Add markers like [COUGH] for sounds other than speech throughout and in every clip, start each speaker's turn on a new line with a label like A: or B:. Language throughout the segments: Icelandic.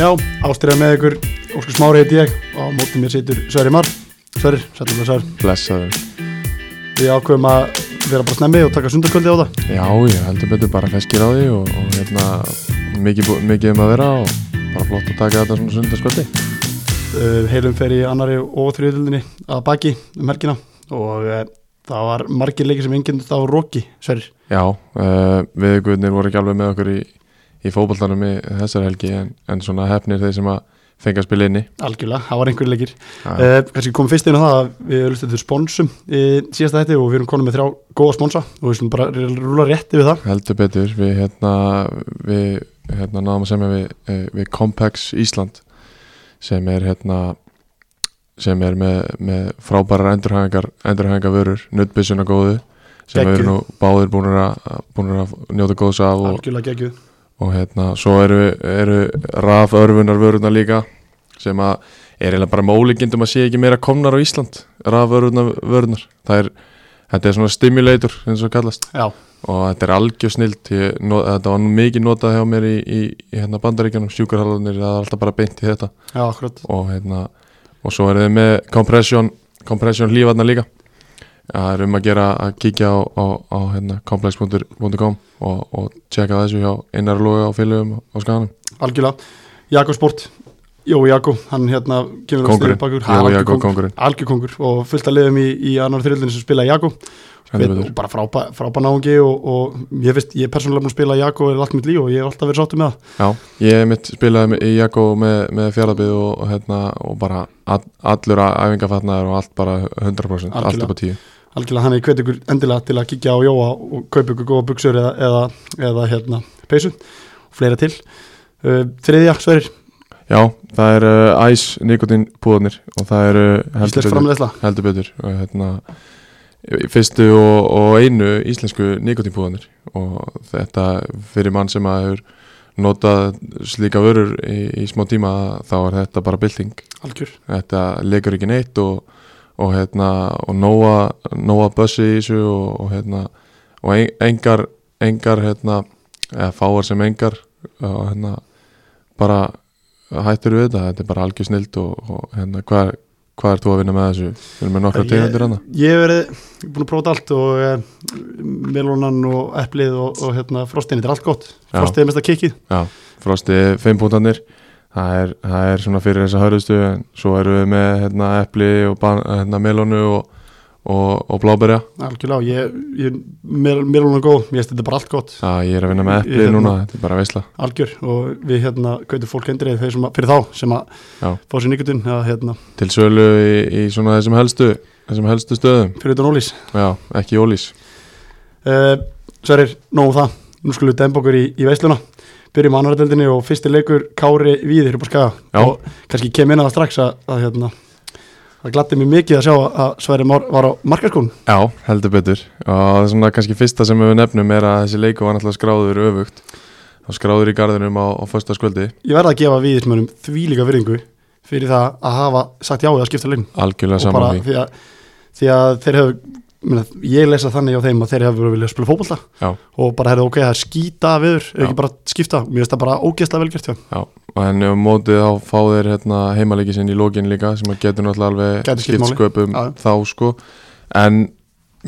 A: Já, ástriða með ykkur, Óskar Smári heiti ég og á móti mér situr Sverri Mar Sverri, sætlum við Sverri
B: Blessaður.
A: Við ákveðum að vera bara snemmi og taka sundarkvöldi á það
B: Já, ég heldur betur bara feskir á því og, og hérna, mikið, bú- mikið um að vera og bara flott að taka þetta svona sundarskvöldi.
A: uh, Heilum fer í annari og þriðildinni að baki um helgina og uh, það var margir leikir sem enginn þetta á Roki, Sverri
B: Já, uh, við guðnir voru ekki alveg með okkur í, í fótboltanum í þessar helgi en, en svona hefnir þeir sem að fengi að spila inni. Eh,
A: Algjörlega, það var einhverjir leikir
B: Já,
A: uh, Kanski komum fyrst inn á það að við lustum til sponsum í síðasta þetta og við erum konum með þrjá góða sponsa og við slum bara rúla rétti við það
B: heldur betur, við hérna, við hérna náðum að semja við, eh, við Compax Ísland sem er hérna sem er með, með frábærar endurhæfingar, endurhæfingar vörur, nuttbyssuna góðu sem við
A: Geggjuð.
B: erum nú báðir búinir að, búinir að njóta góðs af og,
A: Algjörlega geggjuð
B: og hérna, svo eru, eru raförfunar vörurnar líka sem að er eiginlega bara mólíkindum að sé ekki meira komnar á Ísland raförfunar vörurnar það er, þetta er svona stimulator eins og kallast
A: Já,
B: og þetta er algjör snilt ég, no, þetta var nú mikið notað hjá mér í, í, í hérna bandaríkjunum, sjúkarhalunir það er alltaf bara beint í þetta
A: já, akkurat
B: og, hérna, og svo eru þið með compression, compression lífarnar líka það er um að gera að kíkja á, á, á hérna, complex.com og, og tjekka þessu hjá innarlóga og fylgjum á skanum
A: Algjörlega, Jakob Sport Jó Jakob, hann hérna kemur
B: Kóngurinn.
A: bakur,
B: Jói
A: hann er algjör
B: Jakob
A: kóngur,
B: kóngurinn.
A: algjör kóngur og fullt að liðum í, í annar þriðlunni sem spila Jakob
B: Heldur
A: Við-
B: betur.
A: og bara frábæ, frábæ náungi og, og ég finnst, ég er persónulega búin að spila Jakob er allt mitt líf og ég hef alltaf verið sáttu með það
B: Já, ég mitt spilaði með- í Jakko með, með fjallabið og, og, hérna, og bara all, allur æfingafatnaður og allt bara 100% allt
A: Algjörlega.
B: upp á 10
A: algjörlega hann er hvet ykkur endilega til að kíkja á Jóa og kaupa ykkur góða buksur eða, eða, eða hérna peysu og fleira til uh, Þriðja, Sverir,
B: Já, það er uh, æs nikotin púðanir og það eru uh, heldur,
A: Íslensk
B: betur,
A: framleiðsla
B: heldur betur og hérna fyrstu og, og einu íslensku nikotin púðanir og þetta fyrir mann sem að hefur notað slíka vörur í, í smá tíma þá er þetta bara bylting
A: Algjör,
B: þetta leikur ekki neitt og, og hérna og nóa, nóa bussi í þessu og, og hérna og en- engar, engar hérna eða fáar sem engar og hérna bara hættur við þetta, þetta er bara algjör snild og, og hérna hvað er, hvað er þú að vinna með þessu? Við erum með nokkra tegundir hana
A: Ég hef verið búin að prófa þetta allt og eh, melónan og eplið og, og hérna, frostin, þetta er allt gott
B: Já.
A: Frostið er mest að kikið,
B: Já, frosti fimm púntanir það er, það er svona fyrir þessa hörðustu en svo erum við með hérna epli og ban, hérna melónu og, og, og bláberja
A: algjörlega ég, ég, mel- melónan er góð, mér finnst þetta bara allt gott
B: Já, ég er að vinna með epli
A: Hérna.
B: núna, þetta er bara veisla
A: algjör og við hérna kautum fólk endrið þeir sem að, fyrir þá sem að
B: Já.
A: fá sér nikotun að hérna,
B: til sölu í, í svona þessum helstu þessum helstu stöðum,
A: fyrir utan ólís
B: já, ekki ólís
A: uh, Sverir, nóg um það nú skulum við demba okkur í, í veisluna byrjum annarðeldinni og fyrsti leikur Kári Víðir upp á
B: Já.
A: skaga og kannski kem inn að það strax að, að hérna það glatti mér mikið að sjá að Sverri Már var á markaskónu
B: Já, heldur betur og það er svona kannski fyrsta sem við nefnum er að þessi leiku var náttúrulega skráður öfugt og skráður í garðinum á, á fösta skvöldi
A: ég verða að gefa viðismönum þvílíka virðingu fyrir það að hafa sagt já eða skipta leiknum
B: algjörlega
A: og bara
B: saman því
A: því að, því að þeir hefur minna, ég lesa þannig á þeim að þeir hefur viljað spila fótbolta
B: Já.
A: og bara hefur ok, það er skýta viður
B: Já.
A: ekki bara skipta, mér finnst það bara ógeðslega velgjert hjá þeim.
B: Já, en um mótið þá fá þeir hérna, heimaleiki sinn í lokin líka sem að getur náttúrulega
A: Gæti
B: alveg
A: skipt
B: skipt
A: máli.
B: sköpum
A: Já.
B: þá sko en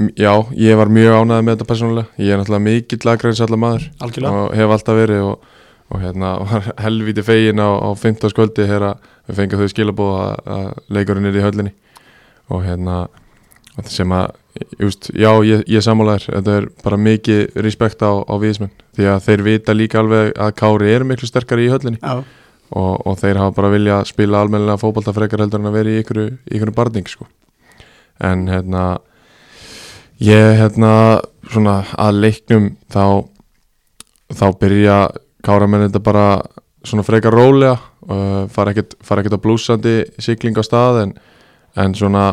B: m- já, ég var mjög ánægð með þetta persónulega, ég er náttúrulega mikill lagræns allar maður
A: algjörlega,
B: og hef alltaf verið og, og hérna [LAUGHS] var helvíti fegin á, á 15. skvöldi þegar að við fengið þau skilabóð að, að leikurinn er í höllinni og hérna og sem að, just, já ég, ég sammálaður, þetta er bara mikið respekt á, á viðismenn, því að þeir vita líka alveg að Kári er miklu sterkari í höllinni
A: já,
B: og, og þeir hafa bara vilja að spila almennilega fótbolta frekar heldur en að vera í ykkur, ykkur barning sko. en hérna ég hérna svona að leiknum þá þá byrja káramenn þetta bara svona frekar rólega uh, fara ekkert fara ekkert á blúsandi sigling á stað en, en svona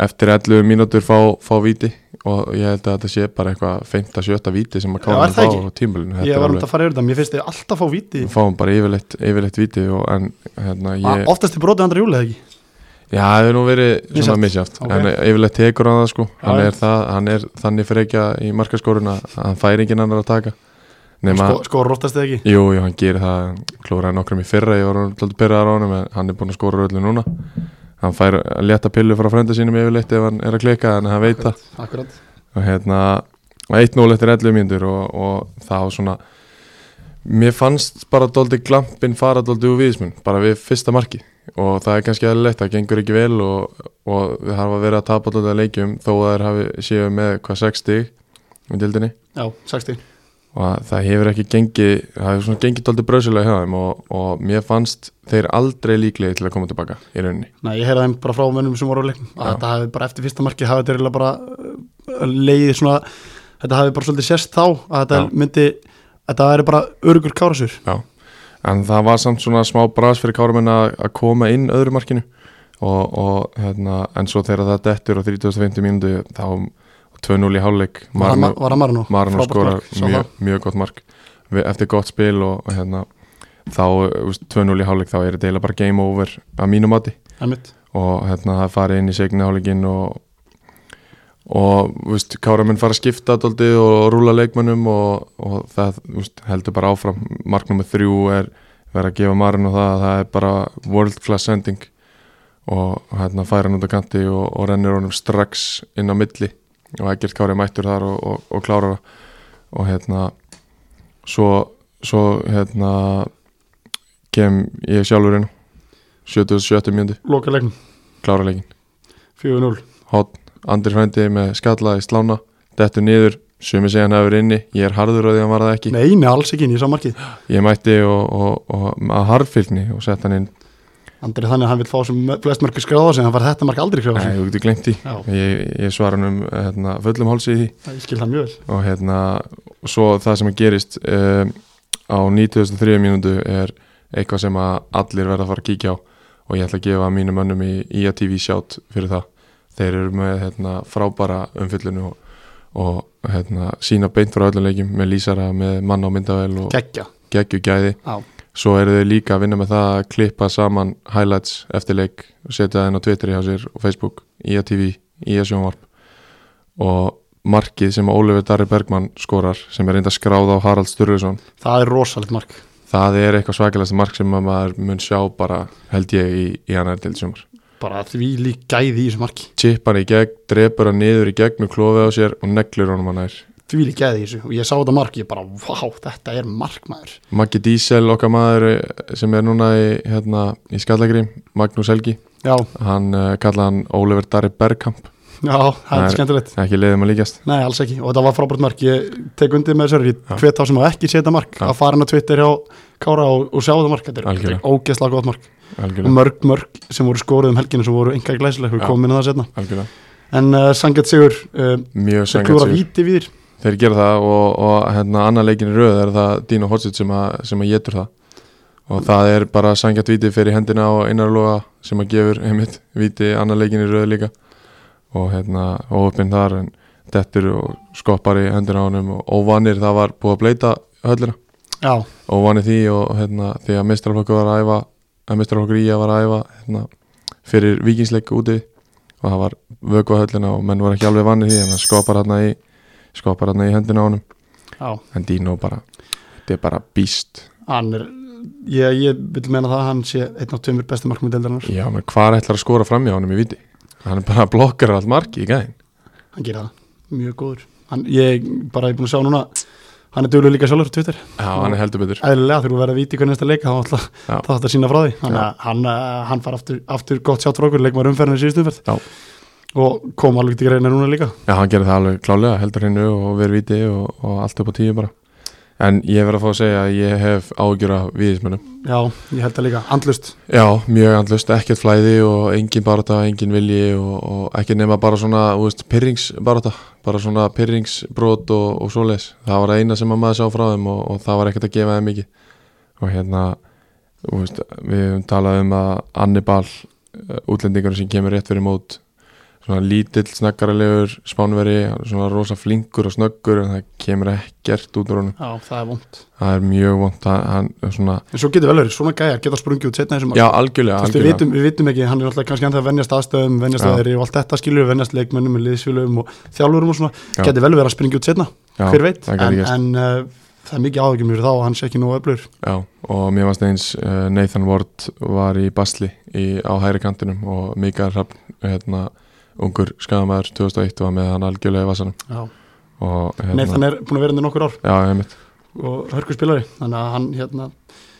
B: eftir 11 mínútur fá, fá víti og ég held að þetta sé bara eitthvað 5-7 víti sem
A: Já, er
B: að káramenn
A: það
B: fá
A: ekki?
B: á tímulinu
A: ég var um að fara yfir þetta mér finnst þeir alltaf fá víti
B: við fáum bara yfirleitt, yfirleitt viti og en hérna
A: yeah.
B: ég,
A: oftast er brotið andra júli eða ekki
B: já, það hefur nú verið svona
A: Misjafnt.
B: misjátt,
A: Ok.
B: okay. en yfirleitt tekur hann það sko,
A: Já,
B: hann
A: já.
B: er, það, hann er þannig frekja í markaskórun að hann fær enginn annar að taka nema,
A: Sko, skora róttast eða ekki
B: Jú, jú, hann gerir það klóraði nokkrum í fyrra, ég var alltaf pyrraðar á honum en hann er búinn að skora öllu núna hann fær að létta pillu frá frenda sínum yfirleitt ef hann er að klika, þannig að hann veit það
A: Akkurat
B: og hérna, og 1-0 eftir 11 mínútur og, og það var svona mér fannst bara dóldi glampin fara dóldi úr viðismun bara við fyrsta marki og það er kannski aðlilegt, það gengur ekki vel og, og við hafa verið að tapa dóldi að leikjum þó að þeir hafi séu með hvað 6 stig í dildinni
A: Já, 60
B: og að það hefur ekki gengið það hefur svona gengið dálítið bröðsilega hjá þeim og, og mér fannst þeir aldrei líklegi til að koma tilbaka í rauninni
A: Nei, ég heyrði þeim bara frá mönnum sem voru á leiknum að
B: Já.
A: þetta hafi bara eftir fyrsta marki hafi þetta eiginlega bara uh, leiðið svona þetta hafi bara svolítið sérst þá að þetta
B: Já.
A: myndi þetta er bara örugur kárasur
B: en það var samt svona smá bras fyrir kárumenn að að koma inn öðru markinu og, og hérna, en svo þegar það dettur á 35. mínúti þá 2-0 í hálfleik
A: var
B: Marino-
A: að Marano
B: Marino skorar mjög, mjög gott mark Við- eftir gott spil og, og hérna þá, þú veist, 2-0 í hálfleik þá er þetta eiginlega bara game over að mínu mati og hérna það farið inn í segnaháligin og og þú veist, káramenn fara að skipta dóldi og rúla leikmönnum og, og það þú veist, heldur bara áfram marknum með þrjú er verið að gefa marinn og það, það er bara world class sending og hérna færa hann út á kanti og, og rennir honum strax inn á milli og ekkert kári mættur þar og, og, og klárar það. og hérna svo, svo hérna kem ég sjálfur inn á 77. mjöndi
A: loka leiknum,
B: klára leikin
A: 4-0
B: Hot, Andri frændi með skalla í slána dettur niður, sumi segja hann hefur inni ég er harður á því að hann var það ekki
A: Nei, nei, alls ekki, ég sá markið
B: ég mætti og, og, og að harðfylgni og sett hann inn,
A: Andri er þannig að hann vil fá sem flest mörg skráða sig, hann fær þetta mark aldrei skráða
B: nei,
A: sig
B: þú getur glemt því
A: Já,
B: ég, ég svara hann um hérna, fullum hálsi í því
A: það- ég skil það mjög vel
B: og hérna, svo það sem gerist um, á 93 mínútu er eitthvað sem að allir verða að fara að kíkja á og ég ætla að gefa mínum mönnum í IATV sjátt fyrir það þeir eru með hérna, frábæra umfyllinu og, og hérna, sína beint frá öllum leikjum með lýsara með mann á myndavel og
A: Gekkja,
B: geggjugæði
A: já,
B: svo eru þau líka að vinna með það að klippa saman highlights eftir leik og setja það inn á Twitter hjá sér og Facebook IATV, IA sjónvarp og markið sem Ólefur Darri Bergmann skorar sem er reynda skráð á Harald Sturluson
A: það er rosalegt mark
B: það er eitthvað svakalegsta mark sem að maður mun sjá bara held ég í, í annar til sjónvar
A: bara því lík gæði í þessu marki
B: chip hann í gegn, drepur hann niður í gegn með klófið á sér og neglur honum hann nær
A: því lík gæði í þessu og ég sá þetta mark, ég bara, vá, þetta er markmaður
B: Maggi Diesel okkar maður eh, sem er núna í, hérna, í skallagri Magnús Helgi,
A: Já,
B: hann uh, kallaði hann Ólefur Darri Bergkamp
A: já, það er
B: Það er-
A: skemmtilegt
B: Það er ekki leiðum að líkast
A: Nei, alls ekki, og þetta var frábært mark ég tek undir með þessari, ég hvet þá sem að ekki setja mark
B: Já.
A: að fara inn á Twitter hjá Kára og, og sjá það mark, þetta er- þetta er
B: Algjörlega.
A: ógeðslega gott mark
B: Algjörlega,
A: mörg, mörg sem voru skórið um helginu sem voru enga glæsileg, við
B: Já.
A: komum inn að það setna
B: algjörlega.
A: en uh, Sangat Sigur, uh,
B: Mjög
A: sem
B: sangat
A: klúra
B: sigur
A: víti við þér
B: Þeir gera það og, og hérna annar leikin í röð er það Dino Horsit sem, að- sem að getur það og það er bara sangat víti fyrir hendina og einarloga sem að gefur einmitt víti annar leikin í röð líka og hérna óöppin þar en dettur og skoppar í hendina á honum og óvanir það var búið að bleita höllina
A: Já,
B: óvanir því og hérna því að mistraflokkur var að æfa að mistraflokkur í að var að æfa hérna, fyrir vikingsleik úti og það var vökuð höllina og menn voru ekki alveg vannir því en það skopar hérna í skopar hérna í höndina á honum
A: já,
B: en Dino bara, þetta er bara býst
A: hann er ég, ég vil meina það að hann sé einn af tveimur bestu markmið deildarinnar,
B: já, menn hvað ætlar að skora fram í honum í viti hann er bara að blokkar allt marki í gæðin
A: hann gera það mjög góður, hann, ég bara ég er búin að sjá núna, hann er duglu líka sjálfur á Twitter,
B: já, hann er heldur betur
A: eðlilega þurfum við að vera að víti hvernig þetta leika, þá ætla
B: já,
A: þá þetta sína frá því þannig að hann, eh, hann far aftur, aftur gott sjátt frá okkur leikmaður umferðinu síðustu umferð
B: Já.
A: og kom alveg til greina núna líka
B: já, hann gerir það alveg klálega heldur hennu og verið viti og, og allt upp á tíu bara en ég verð að fá að segja að ég hef ágjur af viðismennum
A: já, ég held það líka, andlust
B: Já, mjög andlust, ekkert flæði og engin barata, engin vilji og, og ekki nema bara svona, þú veist, pyrringsbarata bara svona pyrringsbrot og, og svoleiðis, það var það eina sem að maður sá frá þeim og, og það var ekkert að gefa þeim mikið og hérna, þú veist við höfum talað um að Annibal útlendingur sem kemur rétt fyrir mót svona lítill, snakkaralegur spánveri, hann er svona rosa flinkur og snöggur en það kemur ekkert út úr honum,
A: já, það er vond
B: það er mjög vont hann, hann er svona,
A: en svo getur vel verið, svona gæjar geta sprungið út setna þessum
B: já, algjörlega,
A: Við
B: algjörlega.
A: vitum, við vitum ekki, hann er alltaf kannski ennþá að venjast aðstöðum, venjast
B: Já.
A: aðeirri og allt þetta skilur, venjast leikmönnum, liðsfélögum og þjálfurum og svona,
B: Já.
A: geti vel verið að springa út setna,
B: Já,
A: hver veit,
B: það
A: en,
B: gæti gerst.
A: en uh, það er mikið áhugjum fyrir þá að hann sé ekki nú öflur
B: Já, og mér varst eins eh, Nathan Ward var í basli í, á hægri kantinum og Mikael Hrafn, hérna, ungur skadamæður 2001 var með hann algjörlega í vassanum og hérna,
A: Nei, þannig er búin að vera undir nokkur ár
B: Já, einmitt
A: og hörkur spilari þannig að hann hérna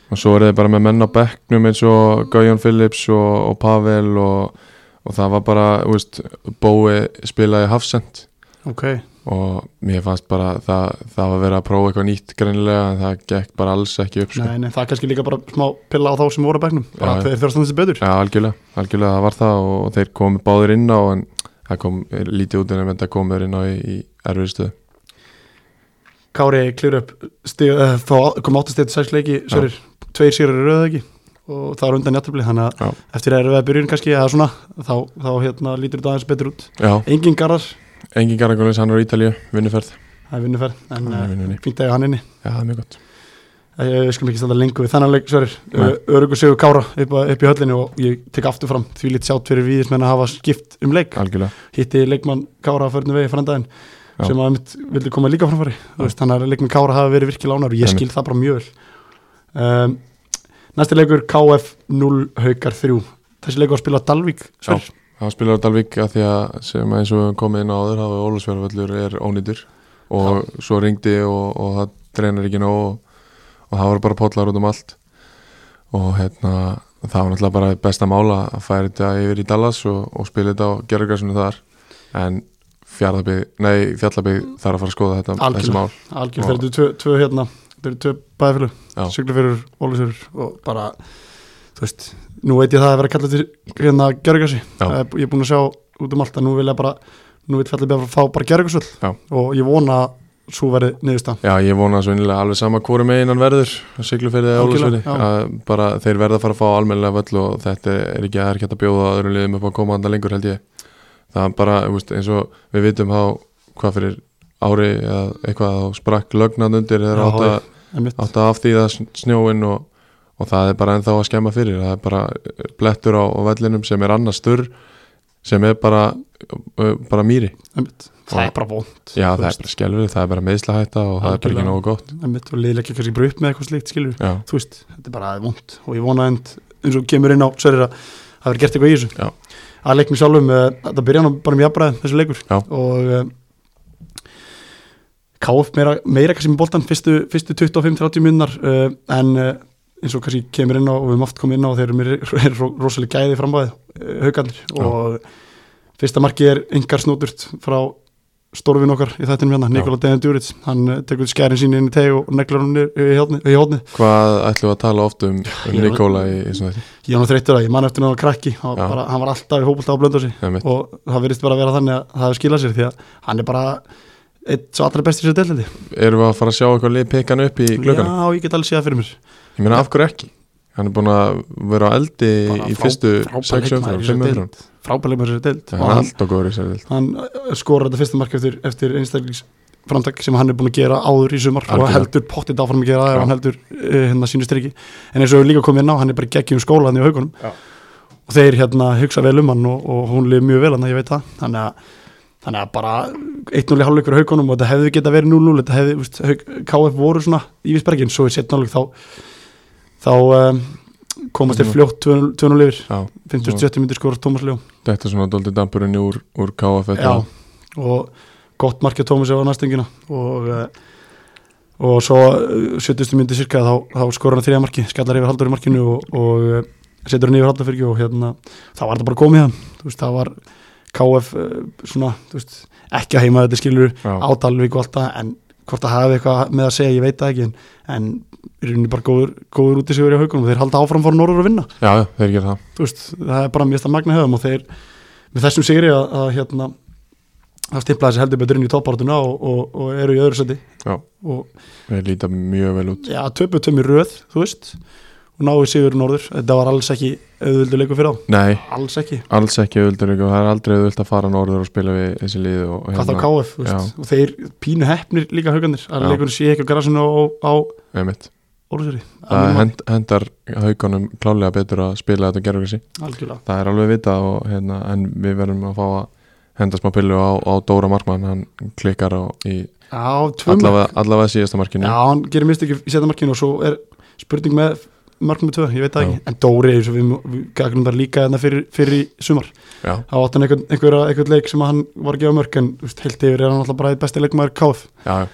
B: og svo eru þið bara með menn á bekknum eins og Gaujan Phillips og, og Pavel og, og það var bara, þú veist, Bói spilaði Hafsend
A: ok,
B: og mér fannst bara það, það var verið að prófa eitthvað nýtt greinilega en það gekk bara alls ekki upp sko.
A: nei, nei, það er kannski líka bara smá pilla á þá sem voru að bæknum
B: Já, já.
A: þeir þurfa að standa sér betur
B: Já, algjörlega, algjörlega það var það og þeir komu báðir inn á en það kom er lítið út en það komur inn á í, í erfið stöðu.
A: Kári klýr upp stig, uh, fá- kom 8 stið til 6 leiki sérir, tveir sérir rauða ekki og það er undan játtöfli þannig
B: Já.
A: að eftir að erfiða byrjun kannski eða svona þá, þá hérna lítur þetta aðeins betur út
B: Já,
A: engin garðar,
B: Engin Garagólis, hann er á Ítalíu, vinnuferð.
A: það er vinnuferð en
B: Hann er
A: uh,
B: vinnunni.
A: fínt að ég hann inni
B: Já, það er mjög gott.
A: Eh, Við skulum ekki standa lengur við þannan leik Sverir,
B: Nei.
A: örugur sigur Kára upp, að- upp í höllinni og ég tek aftur fram því lít sjátt fyrir víðismenn að hafa skipt um leik
B: Algjörlega.
A: hitti leikmann Kára að förnum vegi frændaðin
B: Já.
A: sem að mitt vildi koma líka framfæri
B: Já.
A: veist, þannig að leikmann Kára hafi verið virkilega ánar og ég
B: Einmitt.
A: skil það bara mjög vel um, Næsti leikur KF 0 haukar 3 þessi leikur var að spila á Dalvík Sverir,
B: Hann spilar á Dalvík að því að sem eins og við höfum komið inn á áður, hafa Ólusverðvöllur er ónýtur og svo ringdi og, og það drenar ekki nóg og, og það voru bara potlar út um allt og hérna það var náttúrulega bara besta mála að færa þetta yfir í Dallas og, og spila þetta á gerðargræsunu þar en Fjarlabíð, nei Fjallabíð þarf að fara að skoða þetta, þessi
A: Algjörlega.
B: mál
A: algjör
B: Já.
A: þeir eru tvö, tvö hérna þeir eru tvö
B: Já.
A: bæðafélug Siglufjörður, Ólusjörður og bara þú veist, nú veit ég það að vera kallað til hérna Gjörgjössi
B: Já.
A: ég er búin að sjá út um allt að nú vilja bara nú vil fjallið bara fá bara Gjörgjössull
B: Já.
A: og ég vona að svo verði niðurstaðan
B: Já, ég vona svo innilega alveg sama hvori megin hann verður að siglu fyrir það
A: Algjörlega,
B: álusverði bara þeir verða að fara að fá almennilega völl og þetta er ekki að er að bjóða öðrum liðum upp að koma andan lengur held ég það er bara, þú veist, eins og við vitum þá hvað fyrir ári eða eitthvað þá sprakk lögnan undir þegar
A: Já,
B: átt að-
A: en mitt,
B: átt að af því það snjóin og, og það er bara ennþá að skemma fyrir það er bara eh, blettur á, á vellinum sem er annars sturr sem er bara, ö, bara mýri
A: en mitt. það
B: Já.
A: er bara vond
B: Já, það er bara skelfið, það er bara meðslahætta og það er bara ekki
A: Algjörlega.
B: nógu gott
A: en mitt og liðlega ekki kannski bara upp með eitthvað slíkt skilur
B: Já.
A: þú veist, þetta er bara vond og ég vona end, eins og kemur inn á Sverrir að það verið gert eitthvað í þessu
B: Já.
A: að leiknum sjálfum, eh, þetta byrja hann bara með jafnbræði þessu leikur
B: Já.
A: og eh, KF meira, meira kannski með boltan fyrstu, fyrstu 25-30 minnar uh, en uh, eins og kannski kemur inn á og við höfum oft komið inn á þeir [LAUGHS] eru mér er rosalega gæði frambæði uh, haugarnir
B: Já.
A: og fyrsta marki er yngar snóturt frá stórfin okkar í þættinum hérna,
B: Já.
A: Nikola Dejan Djuric hann uh, tekur skærin sín inn í teg og neglar hann niður eh, í hjálni, í hjálni.
B: Hvað ætlum við að tala oft um, um
A: Ég-
B: Nikola í, í svona þetta?
A: ég var nú þreyttur að ég man eftir hann var krakki hann
B: Já.
A: var, bara, hann var alltaf í fókbalta á blönda sig
B: Einmitt.
A: og það virðist bara að vera þannig að það hefur skilað sér því að hann er bara eitt svo allra besti sér delhaldi
B: Erum við að fara að sjá eitthvað lið pekan upp í glöggana?
A: já, ég get alveg séð það fyrir mér
B: Ég meina af hverju ekki? Hann er búin að vera á eldi
A: Bara
B: í
A: frá-
B: fyrstu
A: frábær
B: 6
A: leikmaður
B: umfram,
A: í
B: 5
A: þessari
B: umfram
A: frábælega með sér delt
B: Það
A: og
B: er
A: hann,
B: allt okkur í sér vild
A: hann uh, skorar þetta fyrsta mark eftir, eftir einstaklingsframtak sem hann er búin að gera áður í sumar og
B: Algjörlega.
A: heldur pottið áfram að gera það
B: Já.
A: ef hann heldur uh, hérna sínu striki en eins og við líka komið inn á, hann er bara geggjum skóla hann í haugunum
B: Já.
A: og þeir hérna hugsa vel um hann og, og hún lifið mjög vel hann, ég veit það þannig að, þannig að bara 1-0 í hálfleikur á haugunum og þetta hefði geta verið 0-0 þetta hefði, veist, Hauk- KF voru svona í Vísbergin, svo í setnáleik þá þá um, komast þeir
B: Mhm.
A: fljótt 2-0 yfir
B: Já,
A: 50-70 myndir skora Tómas Ljó
B: þetta er svona doldið dampurinn úr, úr KF þetta.
A: Já, og gott markið Tómas á næstingina og, eh, og svo eh, 70. myndi cirka þá, þá skorur hann þriða marki, skallar yfir haldur í markinu og, og eh, setur hann yfir haldur fyrir og hérna, þá var þetta bara komið hann þú veist, það var KF eh, svona, þú veist, ekki að heima þetta skilur
B: Já.
A: átalvík og allt það en hvort það hafi eitthvað með að segja, ég veit það ekki en, en í rauninni bara góður, góður út í sigur í haugunum og þeir halda áfram fór norður að vinna
B: já, já, þeir gera það
A: þú veist, það er bara mjög að magna höfum og þeir, með þessum sigri að, að hérna, það stimplaði þessi heldur betur inn í toppártuna og, og, og eru í öðru seti
B: Já.
A: og
B: Þeir líta mjög vel út
A: ja, töpu tömmi röð, þú veist og náðu sigur norður, þetta var alls ekki auðvölduleiku fyrir á,
B: Nei,
A: alls ekki
B: alls ekki auðvöldur og það er aldrei auðvöld að fara norður og spila við þessi lið og, og
A: hvað þá KF, þú veist, og þeir pínu heppnir líka haugandir, að
B: Hérna, Já.
A: leikunum sé ekki á grassinu á, á
B: einmitt.
A: orðsöri
B: Það hend, hendar haugunum klálega betur að spila þetta gerðargræsi
A: algjörlega,
B: það er alveg vita og, hérna, en við verðum að fá að henda smá pillu á, á Dóra Markmann hann klikkar á í
A: Já, tvö mörk.
B: allavega, allavega síðasta markinu
A: Já, hann gerir mist ekki í setja markinu og svo er spurning með mark nummer tvö, ég veit það
B: Já.
A: ekki en Dóri, eins og við, við gagnum það líka þarna fyrir, fyrir í sumar,
B: Já,
A: þá átt hann einhver, einhver, einhver leik sem hann var ekki á mörk en þú veist, heilt yfir er hann alltaf bara eitt besti leikmaður KF
B: já, já.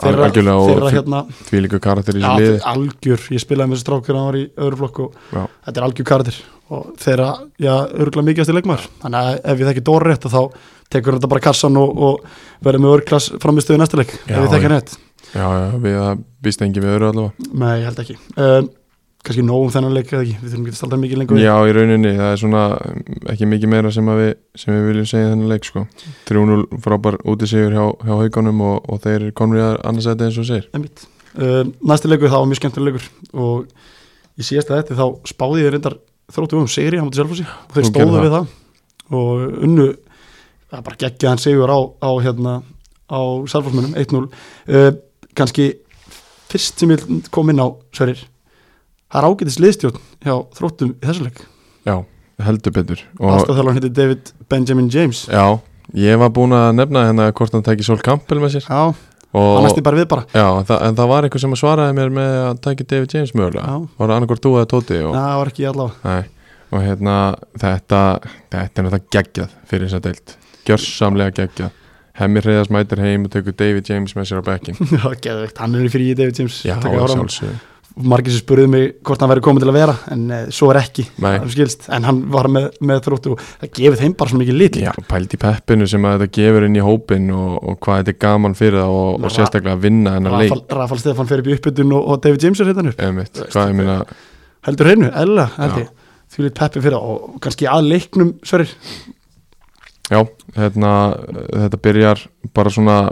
A: þeirra,
B: algjörlega
A: þeirra
B: og
A: hérna,
B: því líka karakter í
A: já,
B: þessu liði
A: algjör ég spilaði með þessu strákur hann var í öðru flokk og
B: Já.
A: þetta er algjör karatir og þeirra, já, örgulega mikilvægasti leikmaður þannig að ef við þekki Dóri rétt að þá tekur þetta bara kassan og, og verður með örglas framistöðu næsta leik, ef
B: Já,
A: við
B: já.
A: þekki hann rétt
B: Já, já, við það býst engin við öru allavega
A: Nei, ég held ekki um, Kanski nóg um þennan leik eða ekki Við þurfum ekki að staldra mikið lengur við.
B: Já, í rauninni, það er svona mm, ekki mikið meira sem, að við, sem við viljum segja í þennan leik sko. 3-0 frábær útisíður hjá, hjá haugunum og, og þeir konur í annarsæti eins og þú segir
A: Einmitt. um, Næsti leikur það var mjög skemmtileg leikur Og í síðasta þetta þá spáði ég reyndar þróttu um sigri á mútið sjálfhúsi og þeir
B: Þú
A: stóðu
B: gerðir
A: við það og unnu það er bara geggjaðan sigur á, á hérna á sjálfhúsmönnum 1-0 uh, kannski fyrst sem ég vil kom inn á Sverir það er ágætis liðstjórn hjá þróttum í þessu leik
B: Já, heldur betur og,
A: aðstæðalarn heitir David Benjamin James
B: Já, ég var búin að nefna hérna hvort hann tæki Sol Campbell með sér
A: Já, hann
B: og,
A: næsti bara við bara
B: Já, en það, en það var eitthvað sem að svaraði mér með að tæki David James mögulega
A: Já.
B: Var það annarkvort þú eða Tóti og,
A: Næ, það var ekki allavega
B: Nei, og hérna þetta, þetta er náttúrulega geggjað fyrir þess að deilt, gjörsamlega geggjað Hemmi Hreiðars mætir heim og tekur David James með sér á bekkin
A: [LAUGHS] Já, geðveikt, hann er í fríi David James
B: Já,
A: Taka áram.
B: sjálfsögðu
A: Margir sem spurði mig hvort hann væri komið til að vera en uh, svo er ekki,
B: Nei.
A: það skilst en hann var með, með þróttu og það gefið þeim bara svo mikið lit
B: Já, pælt í peppinu sem að þetta gefur inn í hópin og, og hvað þetta er gaman fyrir það og,
A: Ra-
B: og sérstaklega að vinna hennar leik
A: Rafal, Rafal Stefán fer upp í uppbytun og, og David James er hérna upp
B: Einmitt, hvað ég meina,
A: heldur hreinu, eðla, held
B: Já.
A: ég því lit peppi fyrir það og kannski að leiknum sverir,
B: já, hérna, þetta byrjar bara svona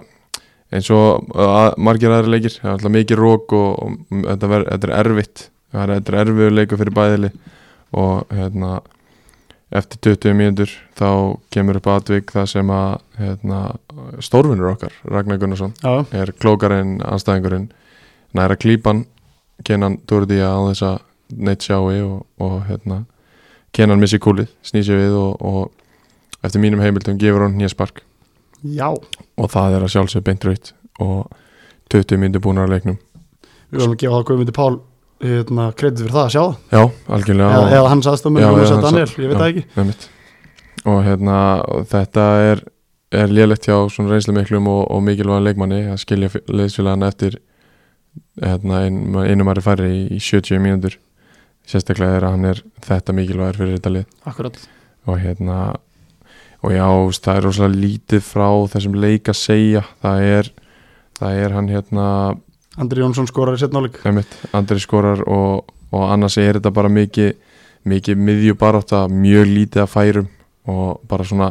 B: eins og uh, að, margir aðri leikir, það er alltaf mikið rók og, og þetta, ver, þetta er erfitt, það er, þetta er erfiður leikur fyrir bæðili og hérna, eftir 20 mínútur þá kemur upp atvik það sem að hérna, stórvinur okkar, Ragnar Gunnarsson,
A: já,
B: er klókarinn, anstæðingurinn næra klípan kenan Dóriðía á þess að neitt sjái og, og hérna kenan missi kúlið, snýsi við og, og eftir mínum heimildum gefur hún nýjaspark
A: já
B: og það er að sjálfsög beint raut og 20 myndir búnar að leiknum
A: við varum að gefa það Guðmundi Pál hérna, kredið fyrir það að sjá það,
B: já, algjörlega
A: eða,
B: og-
A: eða hans aðstofmenn
B: Já,
A: og hans
B: eða
A: að
B: hans
A: Daniel, ég veit
B: já.
A: það ekki
B: Einmitt. og hérna og þetta er, er lélegt hjá svona reynslu miklum og, og mikilvæg leikmanni að skilja leysfélagana eftir hérna, ein, einum aðri færri í, í 70 mínútur sérstaklega er að hann er þetta mikilvægur fyrir þetta lið
A: akkurat,
B: og hérna og já, þú veist, það er rosalega lítið frá þessum leik að segja það er, það er hann hérna
A: Andri Jónsson skorar í setnáleik
B: Einmitt, Andri skorar og, og annars er þetta bara mikið mikið miðjubarátta, mjög lítið að færum og bara svona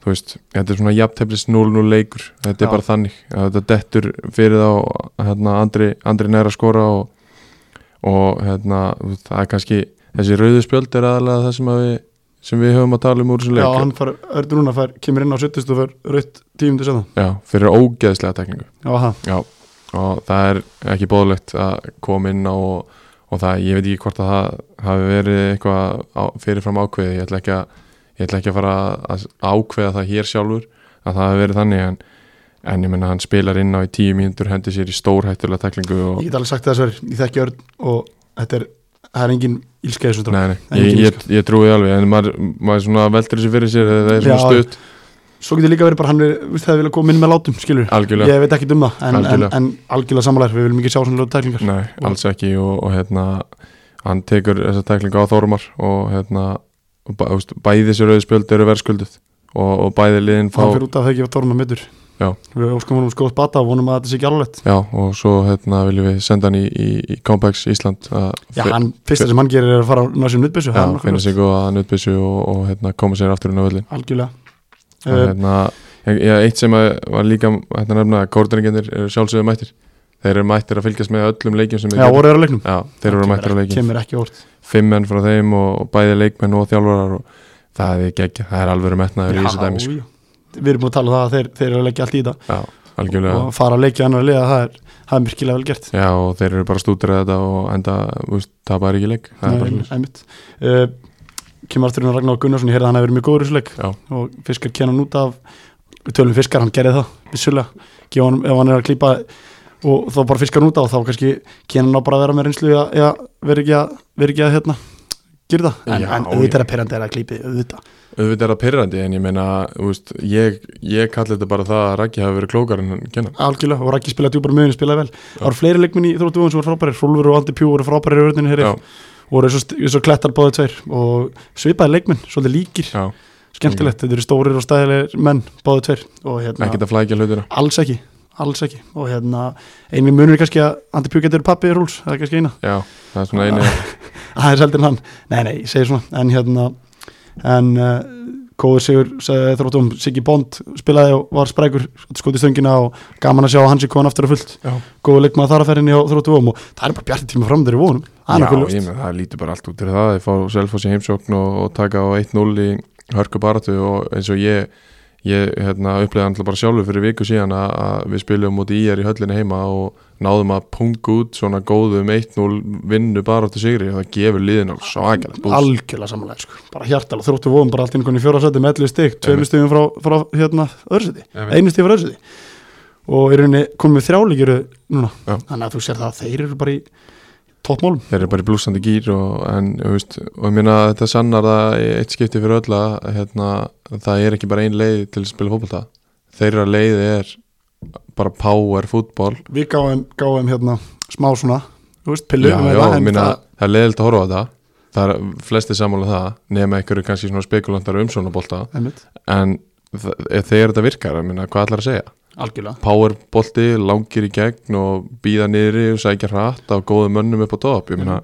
B: þú veist, þetta er svona jafnteflis 0-0 leikur, þetta
A: Já.
B: er bara þannig að þetta dettur fyrir þá hérna, Andri, Andri næra skora og, og hérna, það er kannski þessi rauðu spjöld er aðalega það sem, að við, sem við höfum að tala um úr þessu
A: já,
B: leik
A: hann fær, Ördur Rúna fær, kemur inn á 70 og fær raut tímundu setna,
B: Já, fyrir ógeðslega tekningu
A: já, það
B: Já, og það er ekki bóðlegt að koma inn á og, og það, ég veit ekki hvort að það hafi verið eitthvað á, fyrirfram ákveðið, ég ætla ekki að ég ætla ekki að fara að ákveða það hér sjálfur að það hafi verið þannig en, en ég menna hann spilar inn á í tíu mínútur hendi sér í stórhættulega teklingu og
A: Ég get alveg sagt það sver, ég þekki örn og þetta er, það er engin ílska í þessum drá.
B: Nei, nei,
A: Engin
B: ég, ég, ég trúi því sko. alveg en maður, maður svona veldur þessu fyrir sér það er svona
A: Já,
B: stutt,
A: Svo getur líka verið bara hann er, viðst það vilja koma inn með látum, skilur.
B: algjörlega
A: Ég veit ekki um það, en, en,
B: Algjörlega.
A: en algjörlega samanlegar, við viljum ekki sjá svona lögum tæklingar.
B: Nei,
A: Og-
B: alls ekki og, og hérna hann tekur þessa tæklingu á Þormar og hérna og bæ, úst, bæði sér auðspjöld eru verðskulduð og, og bæði liðin
A: Og
B: fá
A: hann fyrir út af það ekki að tórna mittur.
B: Já.
A: Við óskum honum skóð bata og vonum að þetta sé ekki alveg.
B: já, og svo hérna viljum við senda hann í, í, í Compacts Ísland að
A: Já, hann, fyrsta sem hann gerir er að fara að ná sér nutbissu, það er
B: já, finna
A: nokkuð.
B: sig góða nutbissu og, og hérna koma sér aftur inn á völlin
A: Algjörlega.
B: og
A: Uh,
B: hérna, ég, ég, eitt sem að var líka hérna nefna að kórdringendir eru sjálfsögðu mættir þeir eru mættir að fylgjast með öllum leikjum sem þeir
A: já,
B: geta.
A: voru er á leiknum.
B: já, þeir eru
A: Kemur
B: mættir á
A: ekki-
B: leikjum
A: Kemur ekki óvart.
B: fimm menn frá þeim og, og bæði leikmenn og þjálfarar og það er ekki, það er alveg metnaður í þessu dæmi sko.
A: Já, já. Við erum búin að tala um það að þeir, þeir eru að leggja allt í það
B: Já, algjörlega
A: og fara að leggja annar liða, það er, það er myrkilega vel gert.
B: Já, og þeir eru bara stútur að þetta og enda, þú veist, tapar ekki leik Það er bara
A: Nei,
B: svoleiðis.
A: einmitt. Uh, kemur aftur inn á Ragnar Gunnarsson, ég heyrði að hann hafi verið mjög góður í þessu leik
B: Já.
A: og fiskar kennan út af við tölum um fiskar, hann gerði það vissulega, gefa hann ef hann er að klípa og þá bara fiskar hann út af og þá kannski kennan á bara að vera með reynslu eða- eða verið ekki að, veri ekki að hérna gera það, en,
B: Já,
A: en auðvitað er að perandi er að klípi auðvitað,
B: auðvitað er það pyrrandi en ég meina þú veist, ég, ég kalli þetta bara það að Raggi hafi verið klókar en hann kennan
A: algjörlega, og Raggi spilaði djúpar möginu, spilaði vel, það voru fleiri leikminni í þróttu sem voru frábærir, Rúlfur og Aldi Pjú voru frábærir í vörðinu,
B: já,
A: heyri, voru svo, svo klettar báðu tveir og svipaði leikminn, svolítið líkir
B: já,
A: skemmtilegt, þetta eru stórir og stæðilegir menn, báðu tveir og hérna,
B: ekkert að flækja hlutina
A: alls ekki alls ekki, og hérna einu munur er kannski að Andi Pjú getur pappi rúls, það er kannski eina, [LAUGHS]
B: já, það er svona eini
A: það er seldin hann nei, nei, ég segi svona, en hérna en uh, Kóður Sigur sagði þróttum, Siggi Bond spilaði og var sprækur, skoði stöngina og gaman að sjá að hans er komin aftur að fullt
B: já,
A: góðu leikmaður þar að ferðinni á þróttum og það er bara bjartir tíma fram þeirri vonum það er
B: já
A: nokkuð
B: ég
A: ljóst,
B: meina það lítur bara allt út til það, ég fá selfos í heimsókn og, og taka á 1-0 í hörku baratu og eins og ég ég hérna, upplegaði hann bara sjálfur fyrir viku síðan að, að við spiljum múti í er í höllinni heima og náðum að punga út svona góðum 1-0 vinnu baratu sigri og það gefur liðin alveg svakalega búst.
A: algjörlega samanlega sko. bara hjartal og þróttu vóum, bara allt inn í fjóra seti með 11 stygg, tveimur stygum frá, frá hérna, öðurseti,
B: Einmitt.
A: einu stygg frá öðurseti og í rauninni komið þrjáleikir núna,
B: Já.
A: þannig að þú sér það að þeir eru bara í toppmálum
B: þeir eru bara í blúsandi gýr og, en, þú veist, og ég meina að þetta sannar það í eitt skipti fyrir öll að hérna, það er ekki bara ein leið til að spila fótbolta þeirra leið er bara power fútbol
A: við gáum, gáum hérna smá svona, þú veist, pillu um
B: já,
A: með
B: já,
A: það,
B: ég
A: en
B: meina,
A: það-
B: það er leiðilegt að horfa á það það er flesti sammála um það nema einhverju kannski svona spekulantar um svona bolta
A: einmitt,
B: en þ- ef þegar þetta virkar, ég meina, hvað ætlar að segja
A: algjörlega
B: powerbolti, langir í gegn og býða niðri og sækja hratt á góðum mönnum upp á top ég meina,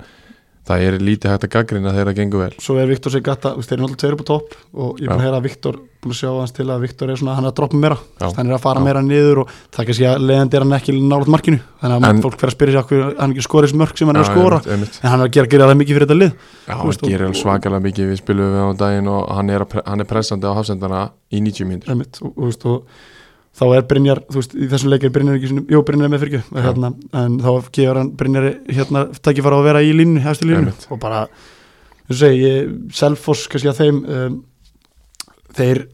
B: það er lítið hægt að gaggrina þegar það gengur vel
A: svo er Viktor sig gata, þeir eru náttúrulega tveir upp á topp og ég er búin að
B: Já.
A: heyra að Viktor, búin að sjá hans til að Viktor er svona, hann er að droppa meira,
B: Já.
A: hann er að fara
B: Já.
A: meira niður og það er kannski að leiðandi er hann ekki nálaðt markinu, þannig að
B: En-
A: fólk fer að spyrja sér okkur, hann ekki skorist mörg sem hann er að
B: Já,
A: skora
B: einmitt, einmitt.
A: en hann er að gera, gera það mikið fyrir þetta lið
B: Já,
A: Þú
B: hann
A: veist, og-
B: gerir alveg
A: og-
B: svakalega mikið við spilum við á daginn og hann er, að pre- hann er pressandi á hafsendana í 90 mínútur
A: einmitt, og, og, veist, og þá er Brynjar þú veist, í þessum leik er Brynjar ekki sinni, jú Brynjar er með fyrir
B: Já.
A: hérna, en þá gefur hann Brynjar hérna tækifæra að vera í línu, hefstu línu
B: Einmitt.
A: og bara, þú segi ég, Selfoss kannski að þeim um, þeir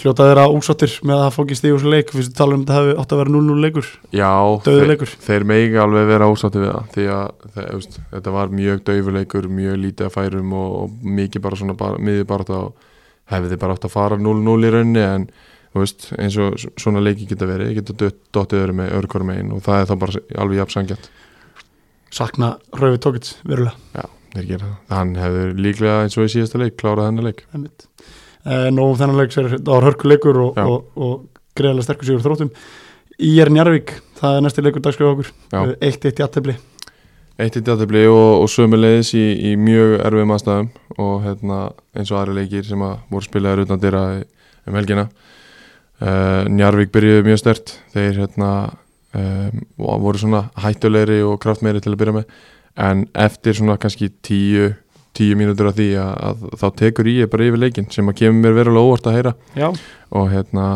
A: hljótaði þeirra úsáttir með að fókist í þessu leik, við tala um þetta hafi átt að vera 0-0 leikur,
B: Já,
A: döðu
B: þeir,
A: leikur
B: þeir megi alveg vera ósátti við það því að þeir, veist, þetta var mjög daufuleikur, mjög lítið að færum og, og mikið bara svona bar, miðið bara þá hefði bara átt að fara 0-0 í raunni en þú veist, eins og s- svona leiki geta verið, geta dött- dottið öðru með örkur megin og það er þá bara alveg jafn sangjart
A: sakna Rauvi Tókits, verulega
B: þeir gera það. Hann hefur líklega eins og í síðasta leik klárað hennar leik.
A: einmitt. Eh, Nóum þennan leik sér, það var hörkuleikur og,
B: Já.
A: og, og greiðlega sterkur sigur þróttum í er Njarvík, það er næsti leikur dagskrif okkur,
B: Já.
A: Eh, 1-1 í aðtefli
B: Eitt í djáttefli og, og sömulegis í, í mjög erfiðum aðstæðum og hérna, eins og aðri leikir sem að voru spilaðir utan dyrra í- um helgina. Uh, Njarvík byrjuðu mjög stert, þeir hérna, um, voru svona hættulegri og kraftmeiri til að byrja með en eftir svona kannski tíu, tíu mínútur af því að, að þá tekur ég bara yfir leikin sem að kemur mér verulega óvart að heyra
A: Já,
B: og hérna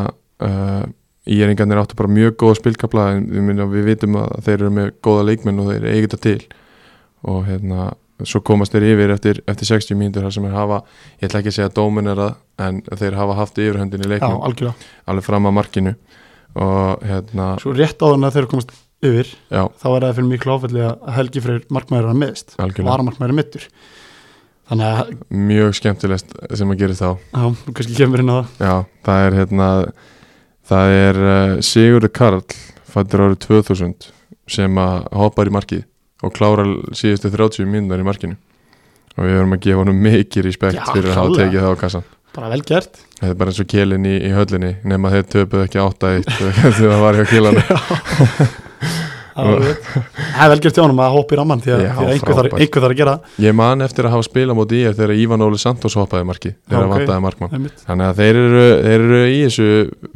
B: uh, íjæringarnir áttu bara mjög góða spilkabla en ég meina, við vitum að þeir eru með góða leikmenn og þeir eigi þetta til og hérna svo komast þeir yfir eftir, eftir 60 mínútur þar sem þeir hafa, ég ætla ekki að segja dóminera en þeir hafa haft yfirhöndin í
A: já,
B: leiknum
A: algjörlega
B: alveg fram að markinu og hérna
A: Svo rétt á þannig að þeir komast yfir
B: já,
A: þá er það fyrir miklu áfælli að Helgi Freyr markmæður hann meðist,
B: algjörlega,
A: varamarkmæður mittur Þannig að,
B: mjög skemmtilegt sem að gera þá
A: já, þú kannski kemur inn á það
B: Já, það er hérna það er uh, Sigurður Karl fættur árið 2000 sem að hoppar í markið og klárar síðustu 30 mínúnar í markinu og við verum að gefa honum mikið respekt
A: Já,
B: fyrir að hafa
A: klárlega.
B: tekið það á kassan
A: Bara vel gert
B: Þetta er bara eins og kélin í, í höllinni nema þeir töpuð ekki 8-1 [LAUGHS] þegar það var hjá kélana
A: Það var rétt. Það er vel gert hjá honum að hoppa í rammann því að,
B: Já,
A: því að einhver, þarf,
B: frábært.
A: einhver þarf að gera
B: Ég man eftir að hafa spilað móti í þegar Ívan Óli Santos hoppaði í markið þegar
A: Já,
B: okay.
A: ok.
B: vantaði markmann
A: einmitt.
B: Þannig að þeir eru, þeir eru í þessu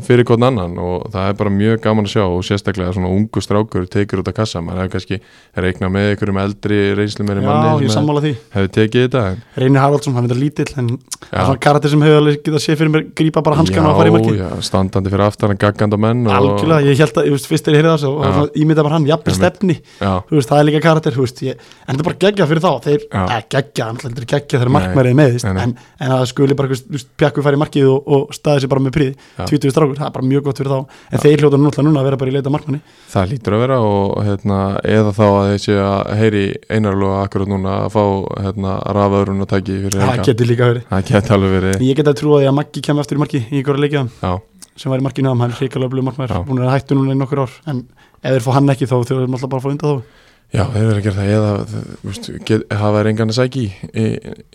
B: fyrir hvort annan og það er bara mjög gaman að sjá og sérstaklega svona ungu strákur tekur út af kassa, maður hefur kannski reiknað með einhverjum eldri reynslu meiri
A: Já, ég
B: manni sem
A: sammála því
B: hefur tekið þetta en,
A: Reynir Haraldsson, hann er þetta lítill en það
B: Já.
A: er svona karakter sem hefur alveg getað séð fyrir mér grípa bara hanskana og fara í markið
B: já, standandi fyrir aftan, gaggandi á menn og,
A: Algjörlega, ég held að, ég veist, fyrst er ég heyrði það svo,
B: Já.
A: og ímynda bara hann, sem jafnir
B: Einmitt.
A: stefni
B: já,
A: þú veist, það er líka karakter, þú veist ég, en þetta er bara geggjað fyrir þá, þeir,
B: Já.
A: eða geggjað annars heldur geggjað þegar
B: Nei.
A: markmærið er með þú veist,
B: Nei, nei.
A: en, en að það skuli bara, einhver, þú veist, pjakku fara í markið og, og staði sér bara með príði,
B: Já.
A: 20 strákur, það er bara mjög gott fyrir þá en þeir hljóta náttúrulega núna að vera bara í leita markmanni
B: það lítur að vera og hérna, eða þá að þeir séu að heyri einarlega akkurat núna að fá hérna, rafaðurinn að taki fyrir
A: það
B: helga
A: getur líka verið,
B: það geti alveg verið
A: ég get að trúa því að Maggi kemur aftur í marki í einhverja leikja
B: já,
A: sem var í markinu, hann er hrikalega blöð markmæður
B: Já.
A: hún er hættu núna í nokkur ár, en ef þeir fá hann ekki þá þurfum við náttúrulega bara að fá undan þá
B: já þeir verið að gera það eða þú veist, get, hafa er engan að sæki í, í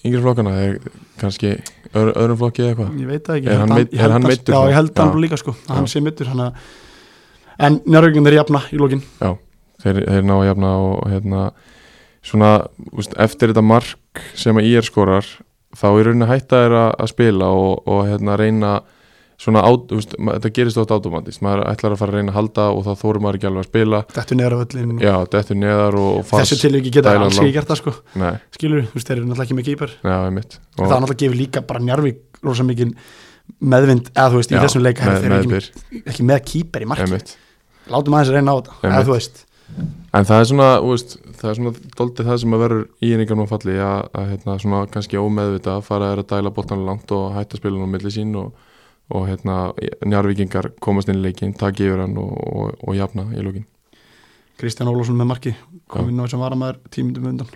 B: yngri flokkana er kannski öðru, öðrum flokki eða eitthvað
A: ég veit það ekki,
B: Er
A: ég held
B: hann
A: að-
B: meidd-
A: ég
B: er
A: held
B: hann
A: að-
B: meiddur
A: já,
B: þá?
A: ég held
B: Já.
A: hann líka sko, að hann
B: Já.
A: sé mittur en njárvíkjum þeir jafna í lokin
B: þeir, þeir ná að jafna og hérna, svona úst, eftir þetta mark sem að IR skorar þá í rauninni hætta er að, að spila og, og hérna, reyna svona, át, úst, þetta gerist oft automatist maður ætlar að fara að reyna að halda og þá þórum maður ekki alveg að spila
A: þetta er neðra völlin
B: já, dettur neðar og, og
A: Mm. þessu tilviki geta
B: dælan
A: alls
B: langt.
A: ekki gert það sko
B: nei,
A: skilur, þú veist, þeir eru náttúrulega ekki með keeper
B: já, einmitt
A: það er náttúrulega gefur líka bara Njarvík rosa mikið meðvind, eða þú veist, í þessum leik herri,
B: með,
A: þeir eru ekki,
B: meðbyr,
A: ekki með keeper í marki
B: einmitt
A: látum aðeins að reyna á þetta, eða
B: Einmitt.
A: þú veist
B: En það er svona, þú veist, það er svona doldið það sem að verður í einhvern veginn falli að, að hérna, svona kannski ómeðvita að fara þér að dæla boltan langt og hætta spilun á milli sín og, og hérna, njárvíkingar komast inn í leikinn, taki yfir hann og, og, og jafna í lókin.
A: Kristján Ólafsson með marki kom
B: Já.
A: inn á þessum varamæður tímundum undan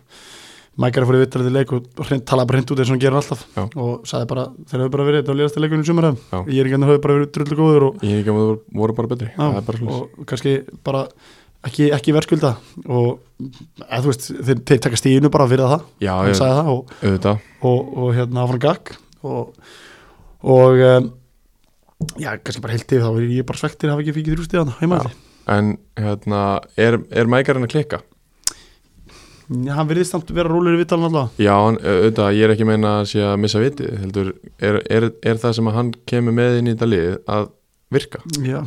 A: Mækari fór í vittarði leik og hreint, talaði bara hreint út eins og hann gerir alltaf
B: Já.
A: og sagði bara, þeir höfðu bara verið þetta á liðasta leikunum í sumar
B: Já.
A: ég er ekki hann höfðu bara verið drullu góður og,
B: Í einhvern veginn voru bara betri, það er bara
A: já,
B: slús.
A: og kannski bara ekki, ekki verðskulda og eða, þú veist, þeir, þeir taka stíðinu bara fyrir það,
B: Já,
A: hann
B: ég,
A: sagði það og,
B: auðvitað,
A: og, og hérna áfram gag og, og um, já, kannski bara heilt yfir þá er ég bara svektir að hafa ekki fíkið þrjústíðan heimaldi.
B: en hérna, er, er mækarinn að klikka?
A: Já, hann virðist samt vera rúlur í vittalinn allavega.
B: Já, hann- auðvitað, ég er ekki að meina að sé að missa vitið, heldur, er, er, er það sem að hann kemur með inn í þetta liðið að virka?
A: Já,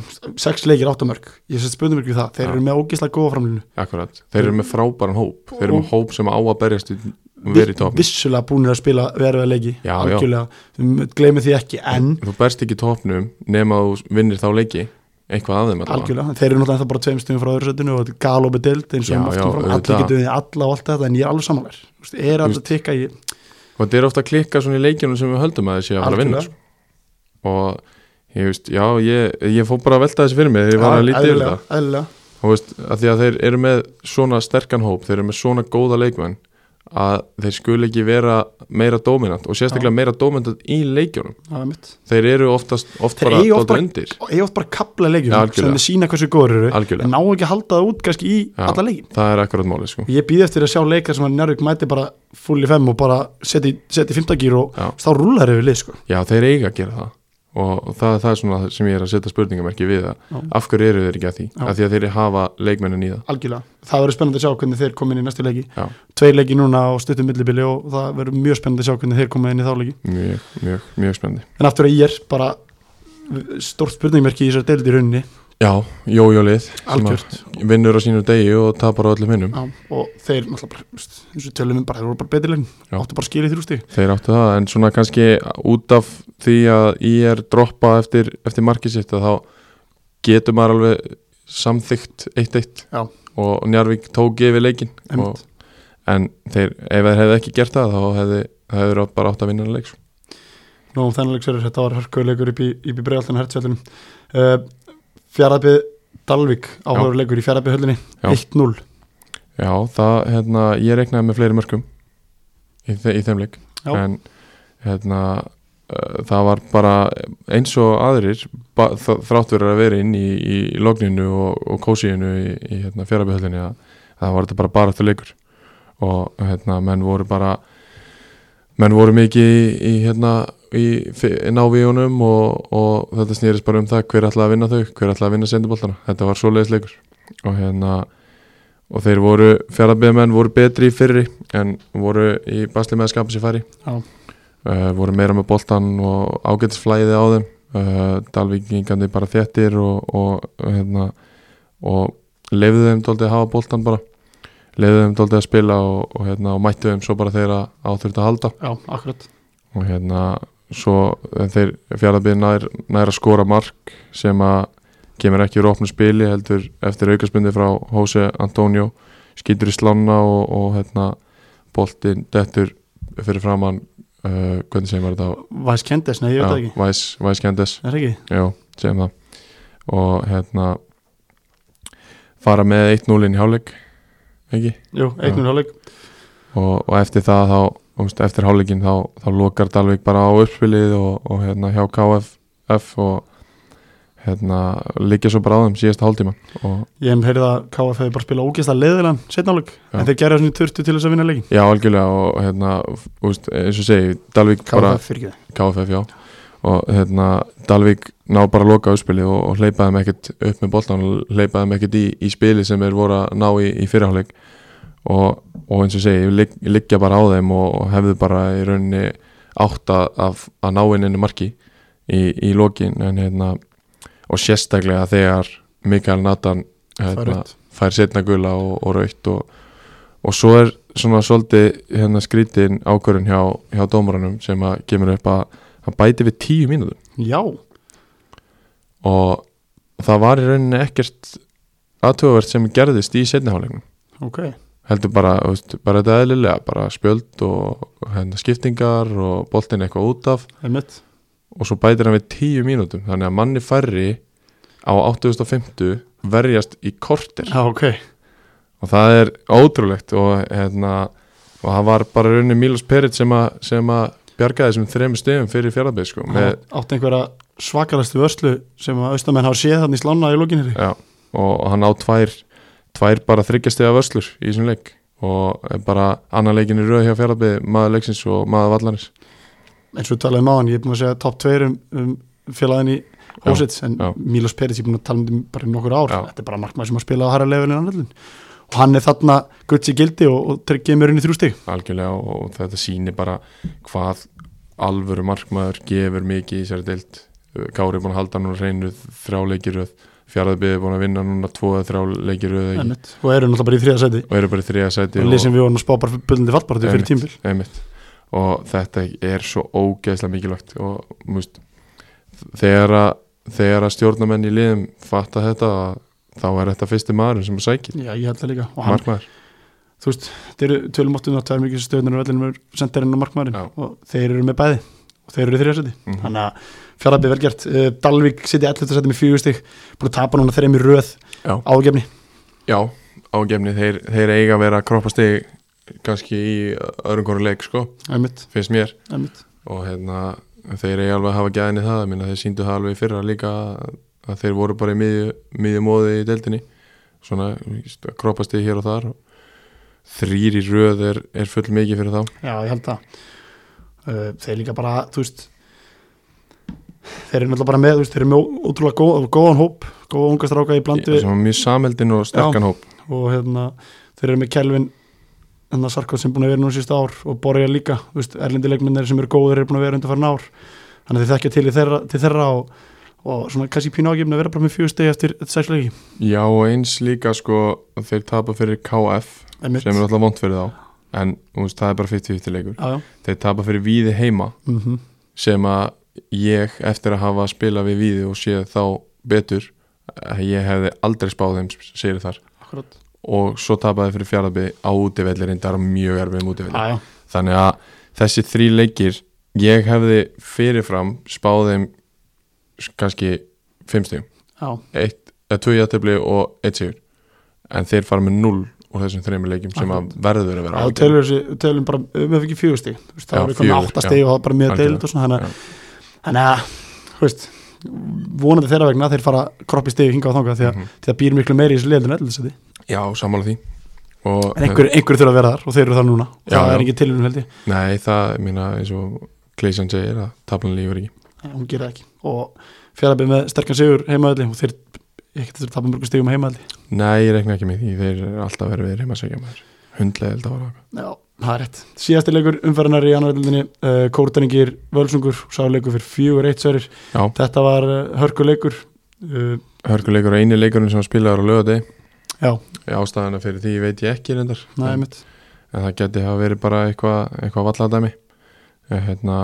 A: sex leikir áttamörk, ég set spöndum ykkur um það, þeir
B: Já.
A: eru með ógislega góða framlinu.
B: Akkurat, þeir eru með frábæran hóp Þeir eru með hóp sem á að berjast í- um verið í topnum
A: Vissulega búinir að spila verða leiki,
B: Já, já.
A: algjörlega, já. gleymið því ekki, en
B: Þú berst ekki í topnum nema þú vinnir þá leiki eitthvað af þeim allavega.
A: algjörlega, þeir eru náttúrulega ennþá bara tveim stundum frá öðru setinu og þetta er galopið deild eins og
B: Já,
A: um aftur
B: já,
A: fram,
B: auðvitað.
A: allir getum við alla og allt þetta, en ég er alveg samanlegar, er alltaf tikka í
B: Og þetta er ofta að klikka svona í leikjunum sem við höldum að þeir séu að fara að vinna
A: algjörlega,
B: sko. og ég veist, já, ég, ég fór bara að velta þessi fyrir mig þegar ég var að
A: Já,
B: lítið yfir
A: eðlilega,
B: þetta
A: eðlilega,
B: og veist, að því að þeir eru með svona sterkan hóp, þeir eru með svona góða leikmenn að þeir skuli ekki vera meira dominant og sérstaklega meira dominant í leikjunum
A: það er mitt.
B: þeir eru oftast, oft
A: Þeir
B: bara
A: eiga oft
B: dálítið
A: bara-
B: undir
A: Og ég átt bara að kapla leikjum
B: Já,
A: sem
B: algjörlega.
A: þið sína hversu góður eru,
B: Algjörlega.
A: en ná ekki að halda það út kannski í
B: Já.
A: alla leikin.
B: það er akkurat máli sko.
A: og ég býði eftir að sjá leikar sem að Njárvík mæti bara full í fem og bara seti, seti fymtagýr og
B: Já.
A: þá rúlar yfir lið sko.
B: Já, þeir eiga að gera það og það, það er svona það sem ég er að setja spurningamerki við að
A: Já.
B: af hverju eru þeir ekki að því
A: Já.
B: af því að þeir hafa leikmennin í það
A: algjörlega, það verður spennandi að sjá hvernig þeir koma inn í næstu leiki
B: Já.
A: tveir leiki núna á stuttum millibili og það verður mjög spennandi að sjá hvernig þeir koma inn í þá leiki
B: mjög, mjög, mjög spennandi
A: en aftur að ég er bara stórt spurningmerki í þessar deildi í rauninni
B: Já, jójólið sem að
A: algjört
B: vinnur á sínu degi og tapar á öllum hinnum
A: Já, og þeir náttúrulega bara, þú veist, eins og tölum við bara, þeir voru bara betri leikin
B: Já.
A: áttu bara skilið þrjústi
B: þeir áttu það en svona kannski út af því að ég er droppa eftir, eftir markið sitt að þá getur maður alveg samþygt eitt eitt
A: Já.
B: og Njarvík tók yfir leikin og,
A: Einmitt.
B: en þeir, ef þeir hefði ekki gert það þá hefði, hefði bara átt að vinna leik sko.
A: Nú um þennan leiksverður, þetta var hörkuleikur upp í, upp í bregaldinu hertsveldinu. Uh, Fjarafið Dalvik áhugaður leikur í fjarafið höllinni,
B: Já.
A: 1-0.
B: Já, það, hérna, ég reiknaði með fleiri mörgum í, þe í þeim leik
A: Já.
B: en hérna, uh, það var bara eins og aðrir ba- þ- þrátt verið að vera inn í, í logninu og, og kósiðinu í, í hérna, fjárabihöllinni að það var þetta bara bara eftir leikur og hérna, menn voru bara menn voru mikið í, í hérna í fi- návíunum og, og þetta snýrist bara um það hver ætlaði að vinna þau, hver ætlaði að vinna sendiboltana þetta var svoleiðis leikur og hérna og þeir voru, fjaraðbyrðamenn voru betri í fyrri en voru í basli með að skapa sér færi
A: Já.
B: uh, voru meira með boltan og ágætisflæði á þeim uh, Dalvíkingandi bara þéttir og, og, hérna, og leiðu þeim dóldi að hafa boltan bara leiðu þeim dóldi að spila og, og, hérna, og mættu þeim svo bara þeirra áþurft að halda
A: Já, akkurat.
B: og hérna svo eh, þeir fjaraðbyrðin nær, nær að skora mark sem að kemur ekki úr opnu spili heldur eftir aukaspundi frá Jose Antonio skýtur í slána og, og hérna, boltinn dettur fyrir framann uh, hvernig segir maður þetta á
A: Væs Kendis, nei, ég veit það ekki
B: Væs, Væs Kendis
A: Er það ekki?
B: Jó, segjum það og hérna fara með 1-0 inn í hálfleik ekki?
A: Jú,
B: Já.
A: 1-0 hálfleik
B: Og, og eftir það þá, umst, eftir hálfleikin þá, þá lokar Dalvik bara á uppspilið og, og hérna hjá KFF og hérna liggja svo bara á þeim síðasta hálftíman og
A: Ég hef heyrið að KF hefði bara spilað ógeðslega leiðilegan setna hálfleik,
B: Já.
A: en þeir gerði svona 20 til þess að vinna leikin
B: já, algjörlega og hérna, úst, eins og segi Dalvik bara,
A: KF fyrir ekki
B: KFF já og hérna Dalvik ná bara að loka áspili og, og hleypaði með ekkert upp með boltan og hleypaði með ekkert í, í spili sem er voru að ná í, í fyrirháleik og, og eins og ég segi, ligg, liggja bara á þeim og, og hefðu bara í rauninni átt að, að, að ná inn inni marki í, í lokin en hérna og sérstaklega þegar Mikael Natan
A: það
B: hérna,
A: er
B: fær setna gula og, og raukt og, og svo er svona svolítið hérna skrítin ákvörðin hjá, hjá dómaranum sem að kemur upp að hann bæti við tíu mínútur
A: Já,
B: og það var í rauninni ekkert aðtöfavert sem gerðist í setniháleiknum
A: ok
B: heldur bara, þú veist, bara þetta eðlilega bara spjöld og hérna, skiptingar og boltin eitthvað út af
A: Einmitt.
B: og svo bætir hann við tíu mínútum þannig að manni færri á 8050 verjast í kortir
A: Já, ok
B: og það er ótrúlegt og, hérna, og það var bara rauninni Milos Peric sem að, sem að bjargaði þessum þremur stegum fyrir fjárðarbygg sko, með,
A: Hann átti einhverja svakalastu vörslu sem að austamenn hafa séð þannig slána í lókinir
B: já, og hann á tvær, tvær bara þryggjastega vörslur í þessum leik og er bara annar leikin í röð hjá fjárðarbygg maður leiksins og maður vallarins
A: eins og við talaðum á hann, ég er búin að segja top 2 um, um félagin í Hósits en
B: já.
A: Milos Peris, ég er búin að tala um þetta bara í nokkur ár
B: Já.
A: þetta er bara markmaður sem að spila á harra levelin annaðlun og hann er þarna gutsi gildi og, og tre- kemur inn í þrjú stig
B: algjörlega og, og þetta sýnir bara hvað alvöru markmaður gefur mikið í sér deilt Kári er búin að halda núna reynu þrjá leikiröð fjárðarbygg er búin að vinna núna tvo eða þrjá leikiröð ekki,
A: Einmitt. og eru náttúrulega bara í þriða sæti
B: og eru bara í þrjá sæti
A: og
B: og-
A: lýsum við honum að spá bara bullandi fallbaratu fyrir
B: Einmitt.
A: tímbil
B: einmitt. og þetta er svo ógeðslega mikilvægt og múst, þegar, að, þegar að stjórnamenn í liðum fatta þetta þá er þetta fyrsti maðurinn sem sækir
A: Já, ég held það líka og hann,
B: markmaður
A: þú veist, þeir eru tölum áttum að það er mikið stöðnir og vellinum er sendarinn og markmaðurinn
B: Já.
A: og þeir eru með bæði og þeir eru í þriða sæti
B: Mhm.
A: þannig að fjárhæpið velgjart uh, Dalvik sitja 11. sæti með fjögustig búin að tapa núna þeir í röð
B: Já.
A: ágefni
B: Já, ágefni, þeir, þeir eiga að vera að kroppa stig kannski í öðrum konar leik sko,
A: Einmitt,
B: finnst mér
A: einmitt.
B: og hérna, þeir eiga alveg að hafa gæðinni það minna, þeir síndu það alveg í fyrra líka að þeir voru bara í miðju, miðju móði í deildinni svona kroppast í hér og þar þrýr í röð er, er full mikið fyrir þá
A: Já, ég held það Uh, Þeir líka bara, þú veist Þeir eru náttúrulega bara með þú veist, Þeir eru með ó- ótrúlega góð, góðan hóp Góða unga stráka í blandi
B: sem er mjög sameldin og sterkan hóp
A: Og hérna, þeir eru með Kelvin Þannig að Sarkot sem búin að vera núna sísta ár Og Borja líka, þú veist, erlendilegmennir sem eru góðir Eru búin að vera undanfarin ár Þannig að þeir þekkja til, í þeirra, til þeirra og, og svona kannski pínu ágefni að vera bara með fjögur stegi Eftir sexleiki
B: já og eins líka sko þeir tapa fyrir KF
A: Einmitt.
B: sem er alltaf vond fyrir þá en þú veist, það er bara 50-50 leikur
A: Já, já
B: þeir tapa fyrir víði heima
A: mm
B: sem að ég eftir að hafa spilað við víði og séð þá betur eh, ég hefði aldrei spáð þeim sér þar
A: Akkurat
B: og svo tapaði fyrir fjaraðby á útivelli reyndar á mjög erfiðum útivelli
A: Já, já,
B: þannig að þessi þrý leikir ég hefði fyrirfram spáðum kannski fimm stíum
A: já,
B: eitt, eða tvö jættibli og eitt sigur en þeir fara með null úr þessum þreymur leikjum sem að verður að vera
A: Já,
B: ágætt.
A: tölur, þessi- tölum bara, við hefum ekki fjögusti það
B: Já,
A: var eitthvað með
B: fjögur,
A: átta
B: já.
A: stegi og það var bara mjög
B: Algjörlega,
A: deild og svona þannig að- þannig að, þú veist vonandi þeirra vegna að þeir fara kroppi stegi hingað og þangað því að, mm
B: Mhm.
A: að býr miklu meiri í þessu liðan en ellisæti
B: já, sammála því og,
A: en einhver, einhver þurfa að vera þar og þeir eru þar núna og
B: Já,
A: það
B: já.
A: er engin tilhjörn held ég,
B: Nei, það, ég meina, eins og Kleysan segir að tablan lífur ekki.
A: Nei, hún gerir það ekki og fjallabið með sterkan sigur heimaðalli og þeir ekki þurfa að tapa mörgum stegum heimaðalli
B: Nei, ég rekna ekki með því, þeir eru alltaf verið verið heima að segja maður. Hundlega held að vara okkar.
A: Já, það er rétt. Síðasti leikur umferðanar í annaðveldinni, uh, Kórtaningir Völsungur, sáleikur fyrir fjögur eitt sverir.
B: Já.
A: Þetta var uh, hörkuleikur, uh,
B: Hörkuleikur er eini leikurinn sem spilaður á lögadei.
A: Já.
B: Ástæðana fyrir því veit ég ekki reyndar. en,
A: næmitt.
B: en það geti hafa verið bara eitthvað eitthva valladæmi. Eh, Hérna,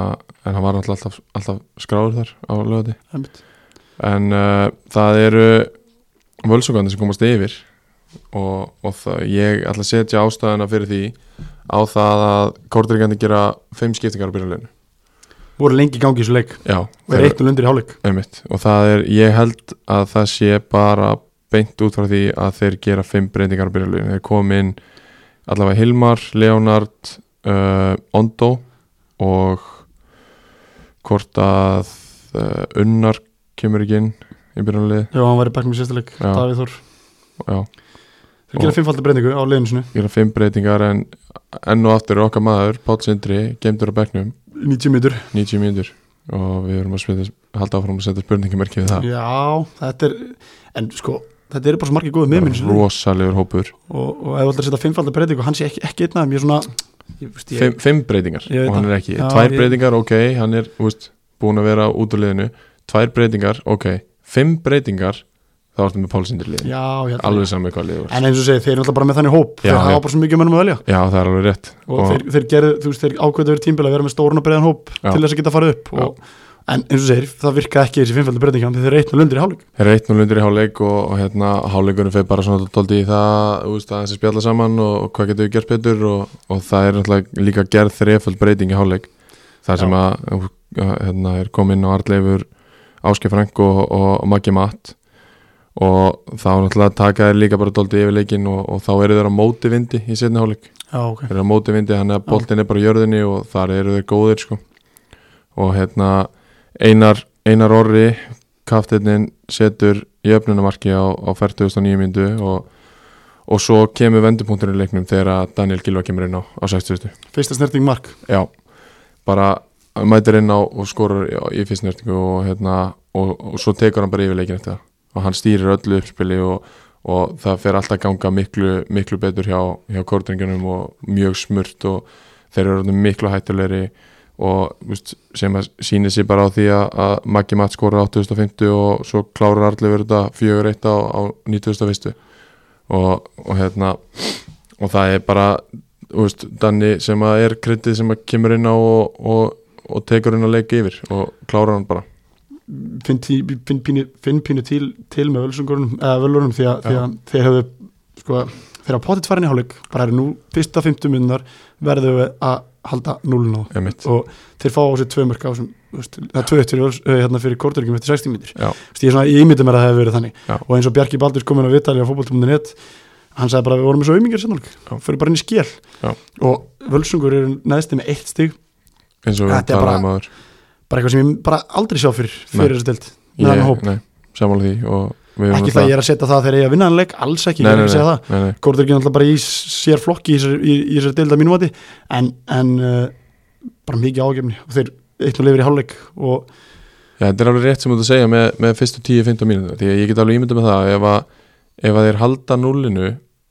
B: en hann var náttúrulega alltaf, alltaf skráður þar á lögadei.
A: Einmitt.
B: en uh, það eru völsungandi sem komast yfir og, og það, ég ætla að setja ástæðina fyrir því á það að kórtryggjandi gera fimm skiptingar á byrjunleginu
A: voru lengi í gangi í þessu leik
B: já,
A: og er eitt og lundir í hálfleik
B: einmitt og það er, ég held að það sé bara beint út frá því að þeir gera fimm breytingar á byrjunleginu, þeir kom inn allavega Hilmar, Leonard uh, Ondo og hvort að uh, Unnar kemur ekki inn í byrjunleginu
A: Já, hann var í bekkum í sérsta leik,
B: Já.
A: Davíð Þór
B: já
A: Þeir gera
B: Og-
A: fimmfaldi breyningu á liðinu sinu
B: gera fimm breytingar en enn og aftur er okkar maður, Páll Sindri gemdur á bekknum,
A: 90 mítur
B: 90 mínútur og við erum að spila, halda áfram að setja spurningamerki við það,
A: Já, þetta er En sko, þetta eru bara svo margir góðið
B: það
A: meðminn
B: er rosalegur hópur
A: og, og ef þú ætlar að setja fimmfaldi breytingu og hann sé ekki, ekki einn af þeim, ég er svona ég, veist,
B: fimm,
A: ég,
B: fimm breytingar
A: Ég veit
B: og hann er ekki,
A: Já,
B: tvær
A: ég-
B: breytingar, ok hann er úst, búin að vera út úr liðinu tvær breytingar, ok, fimm breytingar þá ertu með Pálsindri liðin
A: Já, ég held
B: alveg saman hvað liður
A: En eins og segi, þeir eru alltaf bara með þannig hóp
B: Já,
A: Þeir hafa
B: já.
A: bara svo mikið mönnum að velja
B: já, það er alveg rétt
A: og, þeir, þeir gerðu, þú veist, þeir ákveðu verið tímbil að vera með stórun og breyðan hóp
B: Já.
A: til þess að geta farið upp og, en eins og segir, það virkaði ekki þessi fimmfaldi breytinga þegar þeir eru eitt og lundir í hálfleik
B: Þeir eru eitt núl undir í hálfleik og, og hérna hálfleikunum fyrir bara svona doldi í það þú veist, aðeins að spjalla saman og, og hvað getur við gert betur og, og það er náttúrulega líka gerð þreföld breyting í hálfleik þar sem
A: Já.
B: að uh, hérna, er komin á Arleifur Áskei Frank og, og, og Maggi Matt og þá náttúrulega taka þeir líka bara doldi yfir leikin og, og þá eru þeir á móti vindi í setni hálfleik
A: Já, ok
B: þeir eru á móti vindi þannig að
A: Já.
B: boltin er bara í jörðinni og þar eru þeir góðir sko. og hérna Einar, Einar Orri kaftinnin setur jöfnunamarki á, á 49 myndu og, og svo kemur vendupunkturinn í leiknum þegar að Daniel Gilva kemur inn á, á 60
A: Fyrsta snerting mark
B: já, bara mætir inn á og skorur í fyrstnertingu og, hérna, og, og svo tekur hann bara yfir leikin eftir það og hann stýrir öllu uppspili og, og það fer alltaf ganga miklu, miklu betur hjá, hjá kortringunum og mjög smurt og þeir eru orðnir miklu hættulegri og víst, sem að sýnir sér bara á því að, að Maggi Matt skorur 8.50 og svo klárar allir verið þetta 4.1 á, á 9.1 og, og hérna og það er bara þú veist, Danni sem að er kryddið sem að kemur inn á og, og, og tekur inn að leika yfir og klárar hann bara
A: finn, tí, finn, pínu, finn pínu til, til með völsungurunum, eða völurunum því að, því að þeir hefðu sko, þeir hafa potið tvarin í hálfleik bara er nú fyrsta 50 minnar verðu að halda núlun á
B: emitt
A: og þeir fá á sig tvö mörg á sem, þú veist, það er tvö eitt fyrir, Völs- eh, hérna fyrir korturinkjum eftir 60 mínir
B: Já.
A: Þú veist, ég, er svona, ég ímyndi mér að það hefur verið þannig
B: Já.
A: og eins og Bjarki Baldur komin á Vitali á fótboltum.net hann sagði bara við vorum eins og aumingar sennálk
B: Já.
A: fyrir bara inn í skél
B: Já.
A: og völsungur eru neðsti með eitt stig
B: eins og við um
A: Þetta er bara-
B: talaðum aður
A: bara eitthvað sem ég bara aldrei sjá fyrir fyrir
B: Nei.
A: þessu delt með hann hóp
B: nei, samanlega því og við
A: ekki það ég er að setja það þegar ég að vinna hann leik alls ekki,
B: nei,
A: ég er
B: nei,
A: ekki að segja það
B: nei, nei, nei,
A: Górður ekki náttúrulega bara í s- sér flokki í þessari- í í þessari deild að mínum mati en, en uh, bara mikið ágefni og þeir eitt og lifir í hálfleik og
B: Já, þetta er alveg rétt sem þú ert að segja með, með fyrstu 10-15 mínútur því að ég get alveg ímyndað með það ef að, ef að þeir halda núlinu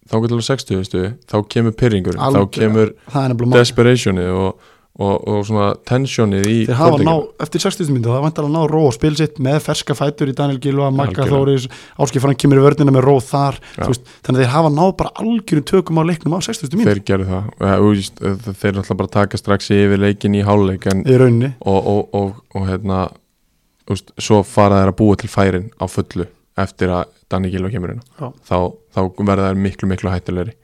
B: þá getur alveg 60 veistu, þá kemur pyrringur þá
A: Algjörlega.
B: kemur
A: það er nefnilega mál.
B: desperationið og, og, og svona tensionið í
A: þeir hafa
B: kortleikjum.
A: ná, eftir 60 myndu það vantar að ná ró og spil sitt með ferska fætur í Daniel Gilva, Magga
B: Algjörlega.
A: Þóris Áskei Frank kemur í vörnina með ró þar
B: Já.
A: þú veist, þannig að þeir hafa ná bara algjörum tökum á leiknum á 60 myndu
B: þeir gerðu það Eh, þú veist, eh, þeir náttúrulega bara taka strax yfir leikin í háluleik en,
A: í rauninni,
B: og, og, og, og hérna úst, svo fara þeir að búa til færin á fullu eftir að Danni Gilva kemur inn
A: Já.
B: á. þá, þá verða þeir miklu miklu hættulegri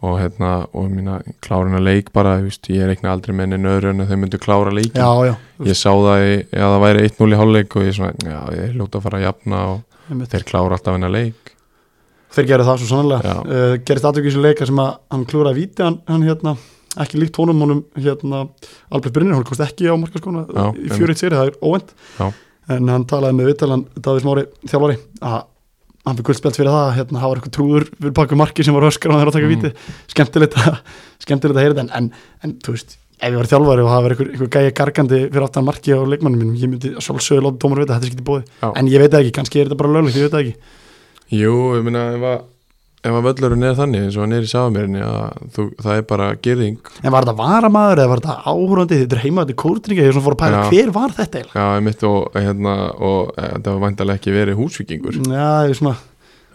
B: og hérna og mína klárina leik bara þú veist, ég reikna aldrei með enn öðru en að þeir myndu klára leikin
A: já já
B: ég sá það í, að það væri 1-0 í háluleik og ég svona, já, ég lóta að fara að jafna og
A: einmitt.
B: þeir klára alltaf hennar leik
A: þeir gerðu það svo sannlega
B: Já.
A: uh, gerðist aðtöku í þessu leika sem að hann klúraði víti hann, hann hérna, ekki líkt honum honum hérna, Albert Brynir, hún komst ekki á markaskona í
B: Já, einmitt.
A: fjórið séri, það er óvend
B: Já.
A: en hann talaði með vittalann Davís Mári, þjálfari að hann fyrir guldspjald fyrir það, hérna, hann var eitthvað trúður fyrir baku marki sem var öskar og hann er að taka
B: Mhm.
A: víti skemmtilegt að, [LAUGHS] skemmtilegt að heyra þetta en, en, en þú veist, ef ég var þjálfari og það var eitthvað, eitthvað gæja gargandi fyrir áttan marki á leikmannum mínum, ég myndi svolsögur láta dómar vita, þetta er ekki bóði,
B: Já.
A: en ég veit það ekki, kannski er þetta bara löglegt, ég veit það ekki
B: Jú, ég meina ef að, ef að völlurinn er þannig eins og hann er í safamerinni að þú, það er bara gerðing
A: En var þetta varamaður eða var þetta áhúrandi þetta er heima, þetta er kórdringa, ég er svona fór að pæla
B: Já.
A: hver var þetta eiginlega?
B: Já, ég mitt og hérna og e, það var væntalega ekki verið húsvikingur
A: Já, ég er svona,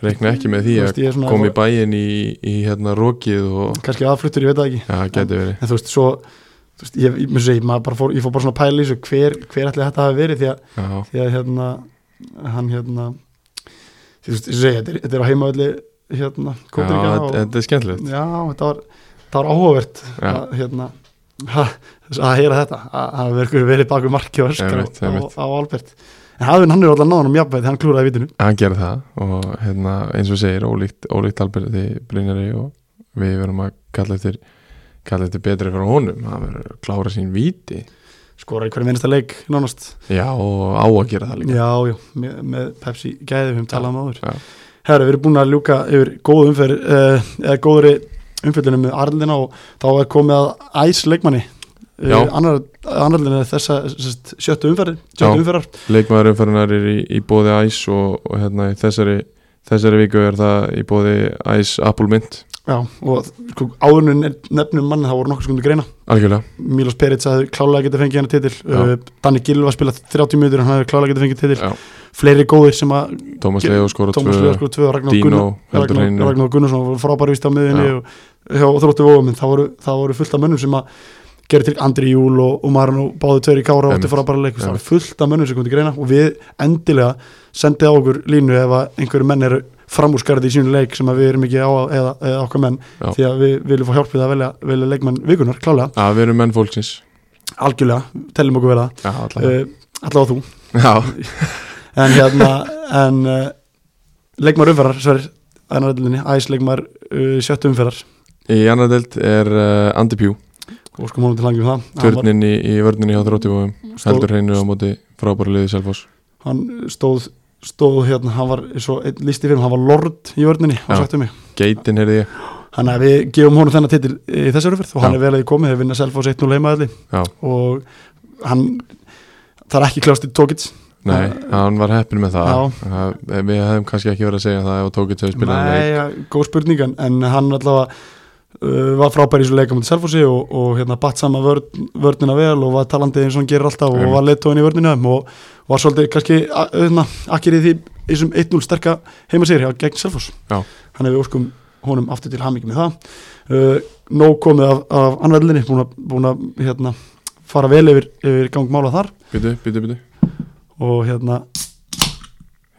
B: reikna ekki með því
A: Þú veist,
B: að
A: ég er svona-
B: koma í bæinn í, í hérna rokið og
A: kannski aðfluttur, ég veit það ekki
B: já, það getur verið
A: En þú veist, svo, þú veist, ég, ég, ég, ég, maður bara fór, ég fór bara svona að pæla í þessu hver, hver ætli þetta hafi verið því að,
B: Já,
A: því að hérna, hann hérna þú veist, ég segi, þetta er- þetta er á heimaölli hérna,
B: já,
A: Kópirikana
B: þetta- þetta er skemmtilegt
A: Já, þetta var, þetta var áhugavert
B: Já.
A: að, hérna, ha, að heyra þetta að að verður verið baku marki og öskar
B: Einmitt,
A: á,
B: einmitt.
A: á Albert en hafinn hann er alltaf náðan um jafnveit hann klúraði vitinu
B: hann gerði það og hérna, eins og segir ólíkt, ólíkt Alberti Brynjari og við verum að kalla eftir kalla eftir betri frá honum hann verður að klára sín víti
A: skoraði hverju minnsta leik nánast
B: já og á að gera það líka
A: já, já, með, með Pepsi gæði við höfum talað um áður
B: Já.
A: herru, við erum búin að ljúka yfir góð umferð eh, eða góðri umfjöldunum með Arlina og þá er komið að æs leikmanni Eh,
B: Já.
A: annar, annarlinni þessa sest, sjöttu umferði,
B: Já.
A: sjöttu umferðar
B: leikmaður umferðunar er í, í bóði æs og, og hérna, í þessari, þessari viku er það í bóði æs Apple Mint
A: já, og sko, áðurinn nefnum manni þá voru nokkur skundu greina
B: algjörlega
A: Milos Peric að klálega geta fengið hennar titil
B: Já.
A: uh, Danni Gilva spilað 30 minnur hann hefði klálega geta fengið titil
B: Já.
A: fleiri góðir sem að
B: Tómas
A: Ge-
B: Leo skora
A: Tómas
B: 2
A: Ljóskur 2 og Ragnar
B: Dino
A: Gunnar Ragnar,
B: heldur hreinu
A: Ragnar Gunnarsson voru frábæri vist á miðinni
B: Já.
A: og, hjá Þróttu Vóum en það voru, það voru fullt af mönnum sem að gerir til Andri Júl og, og Marun og báðu tveir í Kára og áttu
B: Einmitt.
A: frábæra leik það var
B: Einmitt.
A: fullt af mönnum sem kom til greina og við endilega sendið á okkur línu ef að einhverju menn eru framúrskarði í sínu leik sem að við erum ekki á að- eða, eða okkar menn
B: Já.
A: því að við viljum fá hjálpið að velja, velja leikmann vikunar, klálega,
B: að við erum menn fólksins
A: algjörlega, teljum okkur vera
B: já, allavega.
A: uh, allavega þú
B: já,
A: en
B: [LAUGHS]
A: hérna en, uh, leikmar umferðar sver, æs leikmar uh, sjöttu umferðar
B: í annar delt er uh, Andi Pjú
A: og sko málum til langi um það hann, var,
B: törnin í, í vörninni hjá þróttifóðum
A: stóð,
B: heldur hreinu á móti frábæra liði Selfoss
A: hann stóð stóð hérna, hann var svo einn listi fyrir hann var lord í vörninni, hann
B: Já.
A: sagt um mig
B: Geitin heyrði ég
A: hann að við gefum honum þennan titil í þessari umferð og hann
B: Já.
A: er vel að ég komið, þeir vinna Selfoss 1-0 heimaðalli
B: Já.
A: og hann það er ekki klást í tókits
B: Nei,
A: Það-
B: hann var heppin með það
A: Eh. Já.
B: Það- Við hefum kannski ekki verið að segja það ef tókið til að spila hann
A: Nei,
B: leik
A: ja, góð spurning en, en hann allavega uh, var frábær í þessu leika mútið Selfossi og, og hérna batt sama vörn, vörnina vel og var talandið eins og hann gerir alltaf og
B: Einmitt.
A: var leittóin í vörnina og var svolítið kannski a- hérna, akkir í því í þessum 1-0 sterka heimasýri gegn Selfoss
B: Já.
A: hann hefur óskum honum aftur til hamingi með það uh, nóg komið af, af anverðlinni búin að, búin að hérna, fara vel yfir, yfir gang mála þar
B: Býtu, býtu, býtu,
A: og hérna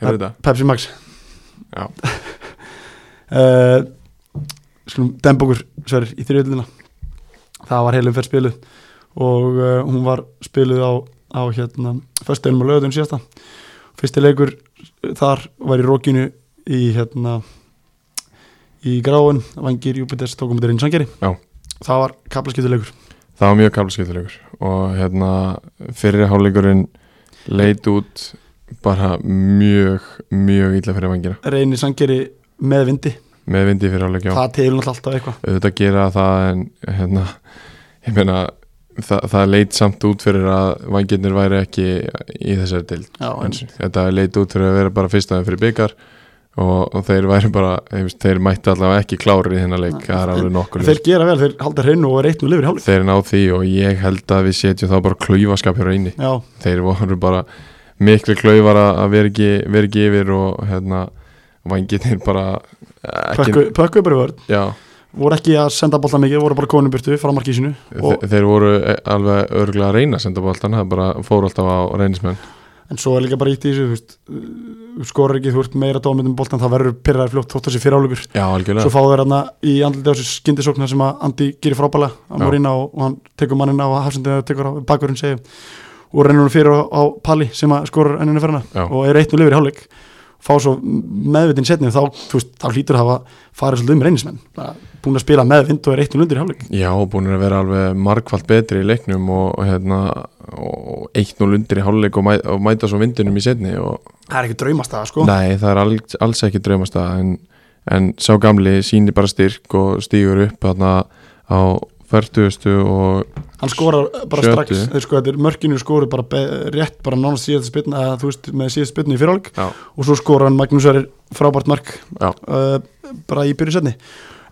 B: heyrðu þetta
A: Pepsi Max
B: Já.
A: [LAUGHS] Eh, Skulum demb okkur sver í þriðlina Það var heilum fyrir spiluð og uh, hún var spiluð á, á hérna, föstuðinum og lögutum síðasta Fyrsti leikur þar var í rókinu í hérna í gráin, vangir Júpiters tókum þetta inn sangeri
B: Já.
A: Það var kaplaskiptuleikur
B: Það var mjög kaflaskiptilegur og hérna fyrir hálfleikurinn leit út bara mjög, mjög illa fyrir vangina
A: Reyni sangeri með vindi
B: með vindi fyrir hálfleik, já
A: Það telur náttúrulega alltaf eitthvað
B: auðvitað gera það en hérna, ég meina það, það leit samt út fyrir að vangirnir væri ekki í þessari deild
A: Já,
B: en þetta leit út fyrir að vera bara fyrstaðin fyrir byggar og, og þeir væri bara, þeir, þeir mættu allavega ekki klárir í þennan leik,
A: Nei,
B: það er alveg nokkur
A: Þeir gera vel, þeir halda hreinu og er eitt nú lifur í hálfleik
B: þeir ná því og ég held að við setjum þá bara klöyfaskap hér á inni
A: Já,
B: þeir voru bara miklu klaufar að að vera ekki, vera ekki yfir og hérna vangirnir bara eh, ekki,
A: pökku- pökkuðu bara í vörð
B: já,
A: voru ekki að senda bolta mikið, voru bara konum burtu frá markísinu og,
B: þeir, þeir voru eh, alveg örgulega að reyna að senda boltan það bara fór alltaf á reynismenn
A: en svo er líka bara ítt í þessu þú veist, uh, skorur ekki, þú ert meira dómið um boltan, það verður pyrraðar fljótt þótt þessi fyrirálugur
B: já, algjörlega
A: svo fá þeir hann í andliti á þessu skyndisóknar sem að Andi gerir frábæla að
B: Já.
A: Morína og, og hann tekur mannin á hafsendina og tekur á bakurinn segja og rennur hann fyrir á, á Pali sem að skorur ennina fyrir
B: Já.
A: hana og er eitt nú lifur í hálfleik fá svo meðvitin setni þá, þú veist, þá hlýtur það að fara svolítið um reynismenn Bara búin að spila meðvind og er eitt nú lundir í hálfleik
B: Já, búin að vera alveg margfald betri í leiknum og, og, hérna, og 1-0 undir í háluleik og, mæ, og mæta svo vindunum í setni og
A: það er ekki draumast það sko
B: nei, það er alls, alls ekki draumast að en, en sá gamli sýnir bara styrk og stígur upp þarna á 40 og
A: hann skorar bara
B: Sjöttu.
A: strax þeir sko, þetta er mörkinu skoru bara be, rétt bara nánast síðast spilna eða þú veist með síðast spilna í fyrirhálleg
B: Já.
A: og svo skorar hann Magnús Arir frábært mark
B: Já.
A: uh, bara í byrju setni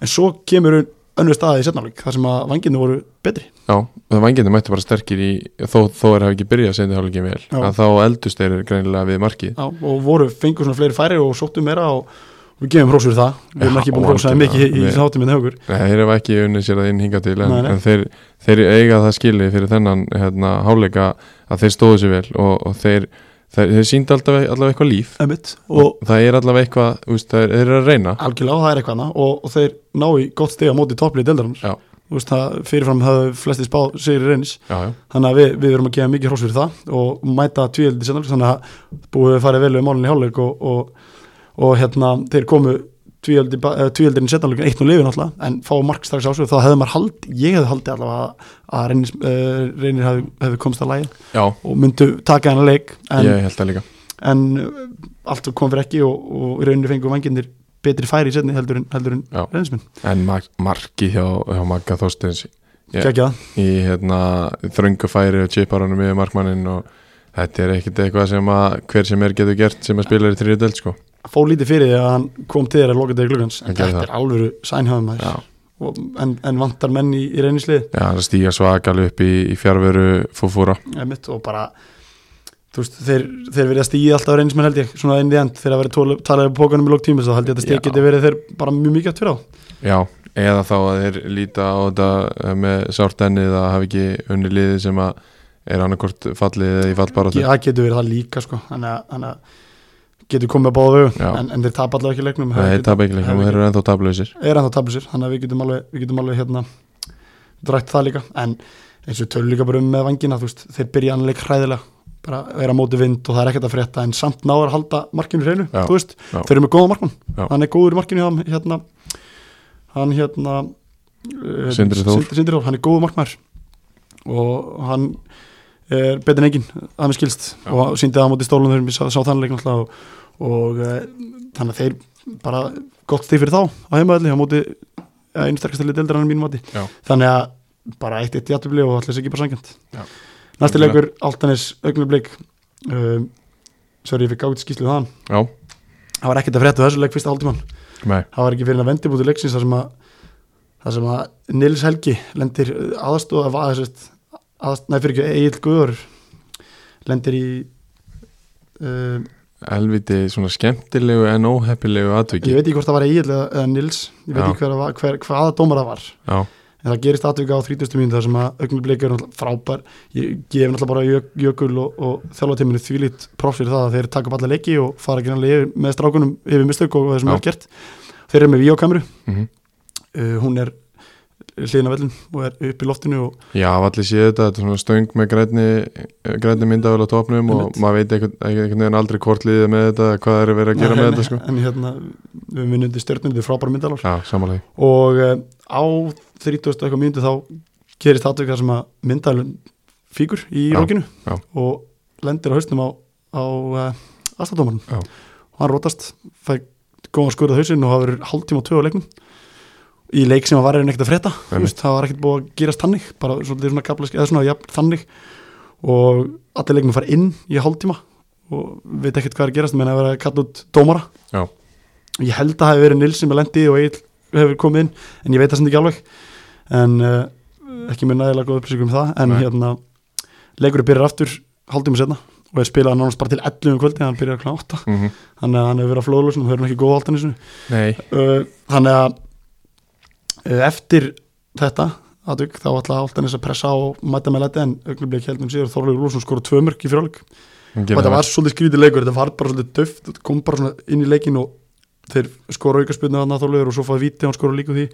A: en svo kemur önnur staði í setnaflik þar sem að vanginu voru betri
B: já, það vanginni mættu bara sterkir í þó, þó er hafi ekki byrjað setni háluleikin vel
A: Já.
B: að þá eldust þeir greinilega við markið
A: Já, og voru fengur svona fleiri færi og sóttu meira og við gefum hrósur það við erum
B: Já,
A: ekki búin að hrósa þeim mikið
B: algjörlega.
A: í hérna
B: Við-
A: þessu hátum en högur
B: Nei, þeir hafa ekki unnið sér að inn hinga til en,
A: Nei, nei.
B: en þeir, þeir eiga það skilið fyrir þennan hérna, háleika að þeir stóðu sér vel og, og þeir, þeir, þeir síndi allavega, allavega eitthvað líf
A: einmitt, og
B: það er allavega eitthvað, þú veist, þeir, þeir eru að reyna
A: algjörlega það er eitthvað annað og, og þeir ná í gott stiga móti topplið deildarins
B: Já.
A: Þú veist, það, fyrirfram hafði flesti spáð sigri reynis
B: já, já,
A: þannig að við, við verum að gefa mikið hrós fyrir það og mæta tvíöldi sennar þannig að búið við farið vel við málinni hálfleik og, og, og hérna þeir komu tvíöldi, tvíöldin setjanleikin eitt og lifin alltaf en fá mark strax á svo þá hefði maður hald, ég hefði haldið allavega að, að reynir, uh, reynir hefði, hefði komst að lægi
B: já,
A: og myndu taka hennar leik en,
B: ég held það líka
A: en eh, allt kom fyrir ekki og, og reynir fengu vangindir betri færi í setni heldur en, heldur en
B: Já.
A: reynismin
B: en mar marki hjá, hjá Magga Þorsteins Já.
A: yeah. geggjað
B: í hérna, þröngu færi og chiparanum yfir markmannin og þetta er ekkit eitthvað sem að hver sem er getur gert sem að spila í þriðu delt sko
A: fó lítið fyrir því að hann kom til þeirra lokandegi klukkans en
B: Hann gerði
A: þetta er alvöru sænhafum maður
B: já,
A: og, en, en vantar menn í, í reynislið
B: já það stíga svakal upp í, í fjárveru fófúra
A: mitt, og bara þú veist, þeir, þeir verið að stíði alltaf reynismenn held ég, svona inn í end þegar að verið talaði um pókanum í lók tíma þá held ég að þetta
B: Já.
A: stíð geti verið þeir bara mjög mikið aftur á
B: Já, eða þá að þeir líta á þetta eh, með sárt ennið að hafa ekki unni liði sem að er annarkort fallið eða í fallbaróttu
A: Ge- það getur verið það líka sko þannig að- þannig að getur komið að báða vögu
B: Já.
A: en, en þeir tapa allavega ekki leiknum
B: Það er tapeikling og
A: hefði
B: þeir eru ennþá tablausir
A: er ennþá tapur sér, þannig að við getum alveg, við getum alveg hérna, drætt það líka en eins og við tölum líka bara um með vangina þú veist, þeir byrja annarleik hræðilega bara vera á móti vind og það er ekkert að frétta en samt náður að halda markinu hreinu
B: Já,
A: þú veist,
B: já.
A: þeir eru með góða markmann,
B: Já.
A: hann er góður í markinu hann hérna hann hérna eh,
B: Sindri Þór.
A: Sindri, Sindri Þór, hann er góður markmaður og hann er betur en engin, að mér skilst
B: Já.
A: og síndi það á móti stólum þegar við sá, sá þannleik og, og eh, þannig að þeir bara gott stíð fyrir þá á heimaðalli á móti ja, einu sterkasta lið deildar hann mínum mati
B: Já.
A: þannig að bara eitt eitt játubli og allir sér ekki bara sangjant
B: Já.
A: næsti
B: Algjörlega.
A: leikur, Altanis augnublik um, sorry, ég fikk ágætt skýslu um þaðan
B: Já,
A: það var ekkert að frétta af þessu leik fyrsta haldimann
B: nei,
A: það var ekki fyrir að vendi búti leiksins þar sem að þar sem að Nils Helgi lendir aðstóð af aðsest aðst, nei fyrir ekki Egil Guður lendir í um,
B: elviti svona skemmtilegu en óheppilegu
A: ég
B: atviki
A: veit ekki hvort það var Egil eða, eða Nils ég veit
B: Já.
A: ekki hver, það var- hver, hvaða dómar það var
B: Já,
A: en það gerist atvika á 30. mínútu þar sem að augnublik er náttúrulega frábær ég gef náttúrulega bara jök, jökul og, og þjálfateiminu þvílít props fyrir það að þeir taka upp alla leiki og fara ekki náttúrulega yfir með strákunum yfir mistök og það sem
B: Já.
A: er gert þeir eru með videokamru,
B: mm
A: uh, hún er hliðin af vellin og er upp í loftinu og
B: Já hafa allir séð þetta, þetta er svona stöng með grænni, eh, grænni myndavel á topnum og
A: Einmitt.
B: maður veit einhvern einhvern veginn aldrei hvort liðið er með þetta, hvað er verið að gera með
A: en,
B: þetta sko
A: en hérna, við munum undir stjörnum þetta er frábæra myndalar
B: Já, samanlega
A: og uh, á 30. eitthvað myndu þá gerist atvik þar sem að myndalun fíkur í
B: Já,
A: rókinu
B: já.
A: og lendir á hausnum á, á uh, aðstæðdómarinn
B: Já.
A: og hann rótast, fæ góðan skurð á hausinn og það verður hálftíma og tvö á leiknum í leik sem að var ekkert að frétta þú
B: Einmitt.
A: veist, það var ekkert búið að gerast þannig bara svolítið svona kaplask, eða svona jafn þannig og allir leiknum fara inn í hálftíma og veit ekkert hvað er að gerast menn að vera að kalla út dómara
B: Já.
A: ég held að það hefur verið Nils sem er lendið og Egil hefur komið inn en ég veit það sem ekki alveg en uh, ekki með nægilega góð upplýsingum um það en
B: Nei.
A: hérna, leikurinn byrjar aftur haldum setna og er spilað nánast bara til 11 um kvöldi hann byrjar klána 8
B: mm
A: þannig að hann hefur verið að flóðlösum og það er ekki góð aldan í sinu
B: Nei,
A: uh, þannig að uh, eftir þetta aðvik þá ætla Altanis að pressa á og mæta með leti en augnublik heldum síður Þorleifur Lússon skora tvö mörg í frjálug
B: hún
A: og
B: gerir
A: þetta
B: það.
A: var svolítið skrítið leikur, þetta var bara svolítið döft þetta kom bara svona inn í leikin og þeir skora aukaspilna þarna þorlegur og svo fáið víti og hann skora líka úr því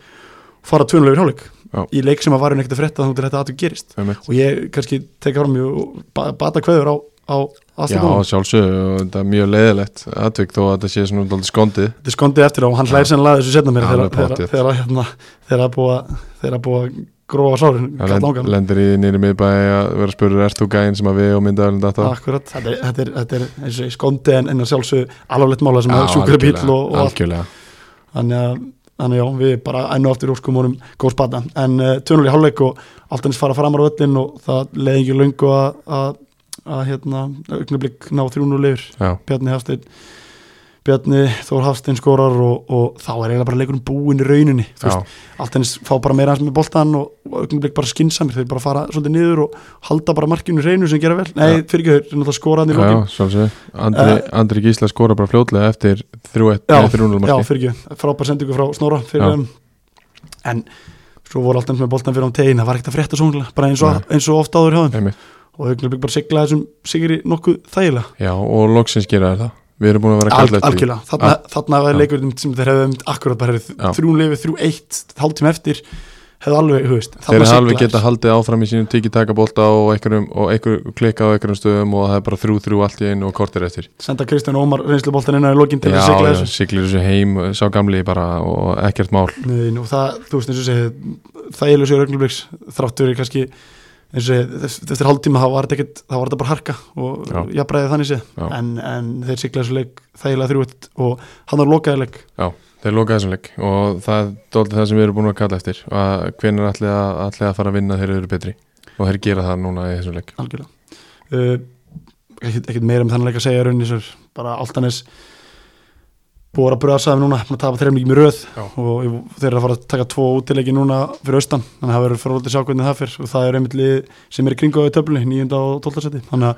A: fara tvönulegur hálfleik
B: Já.
A: í leik sem að varun ekkert að frétta þannig að þetta aðtöku gerist
B: Einmitt.
A: og ég kannski teka fram mjög og ba- bata kveður á, á
B: Já,
A: aðstöðunum
B: sjálfsögðu og þetta er mjög leiðilegt atvik þó að þetta sé svona dálítið skondið
A: þetta er skondið eftir á og hann
B: Já.
A: hlæðir sennilega að þessu setna mér
B: Já,
A: þegar
B: alveg
A: þegar-
B: pottþétt.
A: þegar hérna, þegar að búa þegar að búa að grófa sárin
B: Það lend- lendir í nýri miðbæi að vera spurður ert þú gæinn sem að við og myndaðurinn þetta
A: Akkurat, þetta er, þetta er, þetta er eins og ég skondið en, en að sjálfsög alvarlegt mála sem að sjúkra bíl og, og allt
B: algjörlega
A: þannig að, þannig að já, við bara enn og aftur óskum honum góð spata en uh, tjónuleg hálfleik og allt hans fara framar á öllin og það leiði ekki löngu að, að, að hérna, augnablík ná 300 leifur
B: Já,
A: Bjarni Hafstein Bjarni Þór Hafstein skorar og, og þá er eiginlega bara leikurinn búinn í rauninni Þú
B: já,
A: veist, allt hans fá bara meira hans með boltan og, og augnablík bara skinsamir, þeir bara fara svolítið niður og halda bara markinu hreinu sem gera vel nei, fyrir ekki, þeir náttúrulega skora hann í
B: já, já
A: lokin
B: sjálfsögðu Andri,
A: Eh,
B: Andri Gísla skora bara fljótlega eftir 3-1
A: Já,
B: nei, 3-0
A: Já,
B: marki
A: fyrir ekki, frábær sendingu frá Snorra fyrir um,
B: Já.
A: þeim um en svo voru alltaf með boltan fyrir án tegin, það var ekkert að frétta sónglega, bara eins og, eins og ofta áður hjá þeim
B: Einmitt.
A: og augnablik bara sigla þessum sigri nokkuð þægilega
B: Já, og loksins gera þér það Við erum búin að vera
A: Al,
B: að kalla eftir því.
A: algjörlega, þarna, þarna var
B: Já.
A: leikurinn sem þeir hefðu um akkurat bara
B: Já.
A: þrjún lifið, þrjú eitt, hálftíma eftir hefðu alveg, þú veist,
B: Þeir
A: þarna
B: hefðu alveg
A: sigla
B: geta haldið áfram í sínum tiki-taka-bolta og einhverjum, og einhverjum klikka á einhverjum stöðum og það er bara þrjú-þrjú allt í einu og kortir eftir.
A: þess. senda Kristján Ómar reynsluboltan inn á í lokinn til
B: Já,
A: að sigla
B: já,
A: þessu
B: siglir þessu heim, sá gamli bara og ekkert mál.
A: Nei, nú, það, þú veist, eins og segi það eilu sigur augnabliks, þráttur er kannski eins og segi, þess- eftir hálftíma þá var þetta ekkert, þá var þetta bara harka
B: Já.
A: og jafnbræði þannig sé,
B: Já.
A: en, en þeir sigla þessu leik þægilega þrjú eitt og hann var lokaði leik
B: Þeir loka þessum leik og það er dóldi það sem við erum búin að kalla eftir að hvernig er allir að, allir að fara að vinna þegar þeir eru betri og þeir gera það núna í þessum leik.
A: algjörlega uh, ekkert, ekkert meira um þannig að segja í rauninni sér, bara Altanes búið að vera að bröðsa þeim núna búin að tapa þeirra mikið mjög röð
B: Já.
A: og ég- þeir eru að fara að taka tvo útileiki núna fyrir austan, þannig að það verður fórhaldið að sjá hvernig það fyrr og það eru einmitt lið sem er í kringu á töflunni, 9. og 12. seti þannig að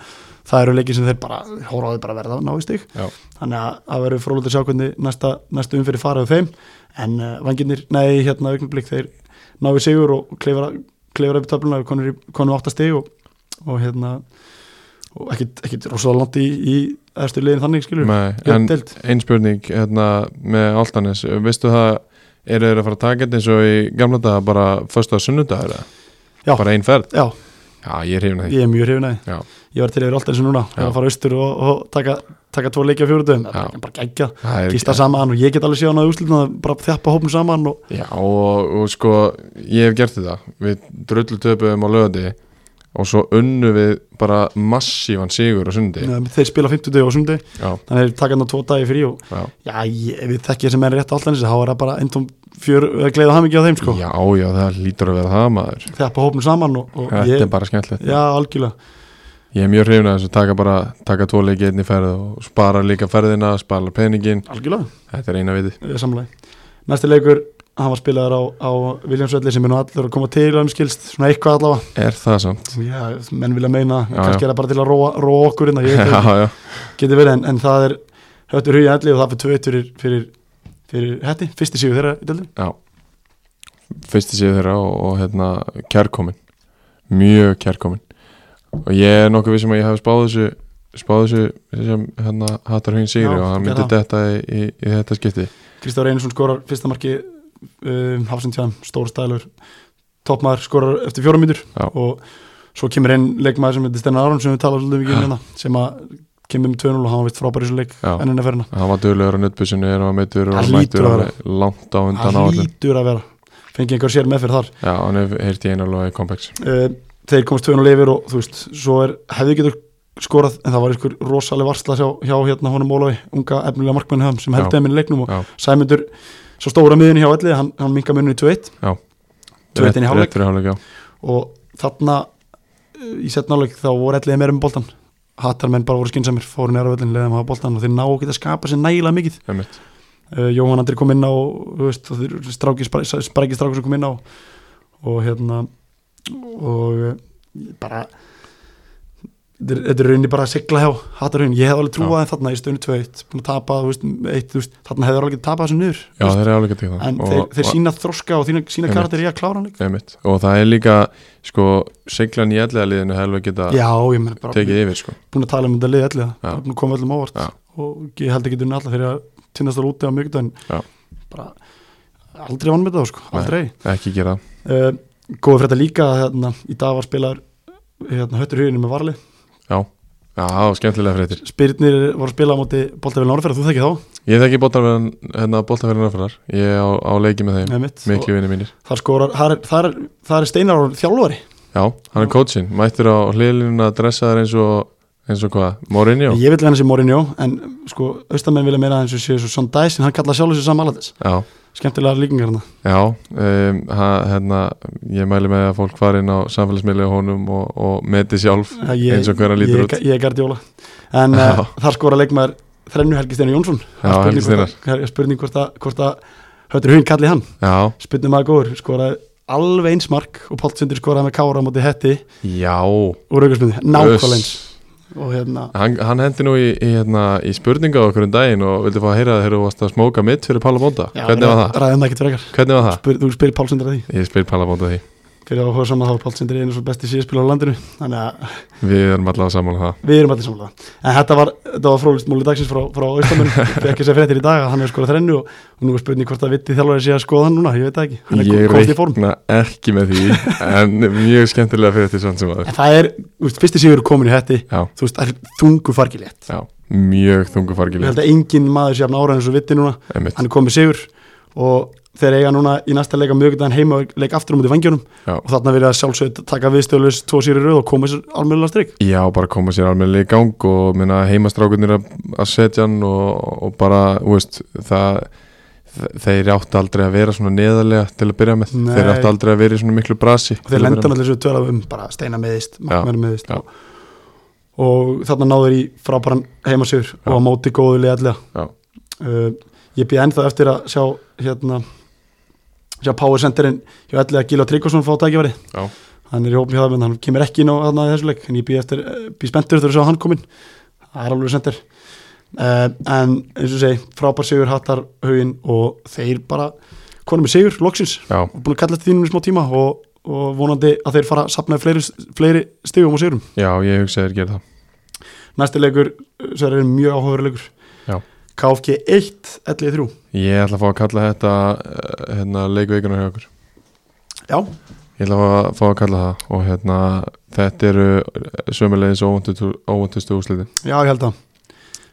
A: það eru leiki sem þeir bara hóraði bara að verða að ná í stig
B: Já.
A: þannig að það verður fórhaldið að sjá hvernig næsta, næsta umfyrir faraðu þeim en uh, vanginir, nei, hérna augnablik þeir náðu sigur og kleifar, kleifar upp töfluna og konur, í- konur áttastig og, og hérna og ekkit, ekkit rosalega langt í, í eðstu liðin þannig skilur
B: Nei, en
A: en, deild,
B: einn spurning hérna, með Altanes, veistu það eru þeir að fara að taka þetta eins og í gamla daga bara förstu að sunnudag eða?
A: Já.
B: bara einn ferð?
A: já,
B: Já, ég er hefna því.
A: ég er mjög hrifin að
B: Já.
A: því ég var til yfir alltaf eins og núna,
B: Já.
A: að fara austur og, og taka, taka tvo leikja fjóruðum,
B: Já.
A: bara gegja
B: Það er-
A: gista saman og ég get alveg séð hann að úslitna bara þjappa hópum saman og
B: Já, og, og sko, ég hef gert þetta. Við drullu töpuðum á lögati og svo unnu við bara massívan sigur á sundi.
A: neð, þeir spila 50 dög og sundi
B: Já,
A: þannig að þeir taka hann á tvo dagi fyrir og
B: já.
A: já, ég, ef við þekki þessi menn rétt alltaf eins þá er það bara eintum fjör gleðið hamingi á þeim sko,
B: já, já, það lítur að vera það maður.
A: þjappa hópum saman og, og
B: Þetta
A: Sko, ég,
B: er bara skemmtilegt.
A: já, algjörlega
B: Ég er mjög hrifin að þessu taka bara, taka tvo leiki einni ferð og spara líka ferðina, spara peningin.
A: algjörlega
B: Þetta er eina vitið.
A: samlega næsti leikur, hann var spilaður á, á Viljámsvelli sem er nú allir að koma til hann skilst, svona eitthvað allavega
B: Er það samt?
A: já, menn vilja meina,
B: Já,
A: kannski er það bara til að róa, róa okkur innan,
B: [LAUGHS]
A: ég veit það
B: já, já.
A: ekki. geti verið en, en það er höttur hugið elli og það fyrir tveitt fyrir, fyrir, fyrir hetti, fyrsti sígur þeirra í deildinni.
B: fyrsti síðu þeirra og, og hérna kærkomin mjög kærkomin og ég er nokkuð við sem að ég hef spáð þessu spáð þessu sem hérna hattar hún sigri
A: Já,
B: og hann
A: gerðu
B: myndi þetta í, í, í þetta skipti
A: Kristján Reynarsson skorar fyrsta marki um, Hafsundtján, stór stælur toppmaður skorar eftir fjórum mítur
B: Já.
A: og svo kemur einn leikmaður sem heitir Stennar Aron sem við talaðum svolítið mikið um hérna sem að kemur um 2-0 og hann var vist frábær í þessu leik
B: Já.
A: ennina ferina
B: hann var dögulegur á nöttbussinu hann var meittur og
A: Það
B: hann
A: hlýtur
B: mættur
A: að vera.
B: alveg langt á undan á
A: það
B: allir
A: lítur að vera fengi einhver sér meðferð þar
B: já, hann hef heyrt í einu alveg komplex
A: uh, þeir komast 2-0 yfir og þú veist svo er, hefði getur skorað en það var einhver rosaleg varsla hjá, hjá hérna honum Ólafi, unga efnilega markmenn höfum sem
B: Já.
A: heldur þeim inn í leiknum og
B: Já.
A: Sæmundur svo stóra miðun hjá allir, hann, hann minka munni 2-1
B: Já.
A: 2-1 inn í hálfleik
B: fyrir hálfleik, já
A: og þarna uh, í setnáleik þá voru allir meira um boltan hattar menn bara voru skynnsamir, fóru nýra völlin leiðum hafa boltan og þeir ná ekki að skapa sér nægilega mikið
B: einmitt.
A: uh, Jóhann Andri kom inn á þú veist, og þeir stráki, spræki stráki sem kom inn á og hérna og uh, bara þetta er- þetta er rauninni bara að sigla hjá hattar rauninni, ég hef alveg trúað þeim þarna í stöðunni 2-1, búin að tapa, þú veist, um eitt, þú veist þarna hefur alveg getað tapað þessu niður
B: já,
A: þú veist,
B: þeir eru hálfleik að teka
A: en
B: það
A: þeir,
B: Og-
A: þeir
B: og-
A: sína þroska og sína, sína
B: Einmitt.
A: karakter í að klára hann líka
B: einmitt. og það er líka sko seglan í allega liðinu helveg geta
A: já, ég menn bara
B: tekið yfir sko
A: búin að tala um þetta lið allir bara búin að koma öllum á óvart
B: Já.
A: og ég held ekki dunni alla fyrir að tinnast að lúti á mjögdöðin
B: Já.
A: bara aldrei vann með það sko,
B: Nei.
A: aldrei
B: ekki gera
A: uh, góði fyrir þetta líka að, hérna, í dag var spilaður hérna, höttur huginu með varli
B: já, það var skemmtilega fréttir
A: Spyrnir var að spila á móti Bóltafélina Árferða, þú þekki þá,
B: Ég þekki bóttarverðan, hérna bóttarverðan afræðar Ég er á, á leiki með þeim,
A: eða mitt
B: miklu vinni mínir
A: það skorar, það er, það er, það er Steinar Árn þjálfari,
B: Já, hann er coachin, mættur á hliðlinuna að dressa þær eins og, eins og hvað, Mourinho
A: ég vil hann sem Morinjó en sko, austamenn vilja meira að eins og séu svo Sondæs, en hann kallaði sjálfur sér saman alatis
B: Já,
A: skemmtilega líkingar hann
B: já um, ha, hérna, ég mæli með að fólk fari inn á samfélagsmiðlega honum og, og meti sjálf
A: Já, ég,
B: Eins og hver hann lítur
A: ég,
B: út.
A: Ég er gardjóla En
B: Já.
A: uh, þar skora leikmaður þrennu Helgi Steinar Jónsson Það er
B: Helgi
A: spurning hvort að- það er Spurning hvort að, hvort að Höttur hún kalli hann
B: Já,
A: Spurning maður góður Skoraði alveg eins mark Og Páltsundur skoraði með kára á móti hetti
B: já
A: Úr aukursmyndi Nákvæmlega eins
B: uss.
A: Og hérna
B: Hann, hann hendi nú í, í, hérna, í spurninga á okkur um daginn og vildi fá að heyra þegar þú varst að smóka mitt fyrir Palabonda Hvernig var það?
A: Ræðum það ekkert frekar
B: Hvernig var það?
A: Spyr, Þú spyrir Páltsundur að því
B: Ég spyr Palabonda því
A: fyrir áhuga saman þá er Pálsindri einu svo besti síðspil á landinu þannig að
B: Við erum allavega saman það
A: við erum allir samlega en þetta var, þetta var fróðlist múli dagsins frá, frá [LAUGHS] Ístamönu fekk þess að fréttir í dag að hann hefur skorað þrennu og, og nú er spurning hvort að vitið þjálfari sé að skoða hann núna, ég veit það ekki hann er
B: Ég
A: kom- komst í form
B: reikna ekki með því En mjög skemmtilega fyrir þetta samt sem aður
A: en það er, þú veist, fyrsti sigur er komin í hætti
B: Já,
A: þú veist, það er þungu fargilegt
B: já, mjög
A: ég
B: þungufargilegt
A: held að engin maður sé að ára eins og viti núna
B: Einmitt,
A: hann er komið sigur og þeir eiga núna í næsta leika mögudaginn heima og leik aftur á um út í vangjunum
B: já
A: og þarna verið að sjálfsögð taka viðstöðlust tvo sýri rauð og koma sér almennilega strik
B: Já, bara koma sér almennilega í gang og minna heimastrákunir að að setja hann og, og bara, þú veist, það þe- þeir áttu aldrei að vera svona neðarlega til að byrja með,
A: Nei.
B: þeir áttu aldrei að vera í svona miklu brasi
A: og þeir lenda allir svo tölum um bara steina meðist, markmenn meðist
B: já.
A: og, og þarna náður í frábæran heimasigur og á móti góðu liðallega
B: Já.
A: uh, ég býð ennþá eftir að sjá hérna sjá Power Centerin hjá allega Gíla Tryggvason fá tækifæri
B: Já.
A: hann er í hópum hjá það menn hann kemur ekki inn á þarna í þessu leik en ég býð eftir, býð spenntur þegar að sjá hann kominn það er alveg center uh, en eins og ég segi, frábær sigur hattar hauginn og þeir bara konum með sigur, loksins
B: Já,
A: og búin að kalla þetta þínum í smá tíma og, og vonandi að þeir fara að sapnaði fleiri, fleiri stigum og sigurum.
B: já, ég hugsa þeir gera það
A: Næsti leikur uh, sem er mjög áhugaverið leikur.
B: Já.
A: KFG 1, 11 3.
B: Ég ætla að fá að kalla þetta eh, hérna, leikveikunar hjá okkur
A: Já,
B: Ég ætla að fá að kalla það og hérna, þetta eru sömulegis óvöntustu úsliti
A: já, ég held að.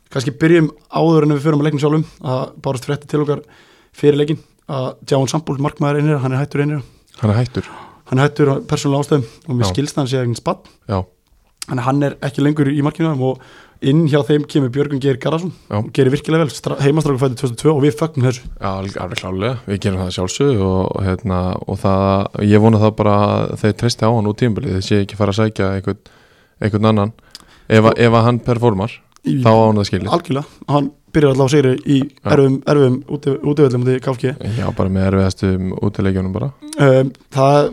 A: Kannski byrjum áður en við förum að leiknum sjálfum að bárst frétti til okkar fyrir leikin að Djáun Sambúl, markmaður einir, hann er hættur einir.
B: Hann er hættur
A: Hann er hættur á persónulega ástæðum og mér
B: Já.
A: skilst að hann sé eigin spatt.
B: Já,
A: Þannig að hann er ekki lengur í markinu á þeim og inn hjá þeim kemur Björgun Geir Garðarsson
B: Já.
A: og gerir virkilega vel, heimastrákur fættu 2002 og við fögnum þessu.
B: Já, alveg alveg klálega, við gerum það sjálfsög og, og, hérna, og það, ég vona það bara að þeir treysti á hann út tímbilið þess ég ekki fara að sækja einhvern, einhvern annan ef, að- ef að hann performar
A: Í-
B: þá á hann það skilið
A: algjörlega, hann byrjar allavega á sigri í
B: Já.
A: erfum, erfum útöðlum út í KFG
B: Já, bara með erfiðastum útileikjunum bara
A: um, það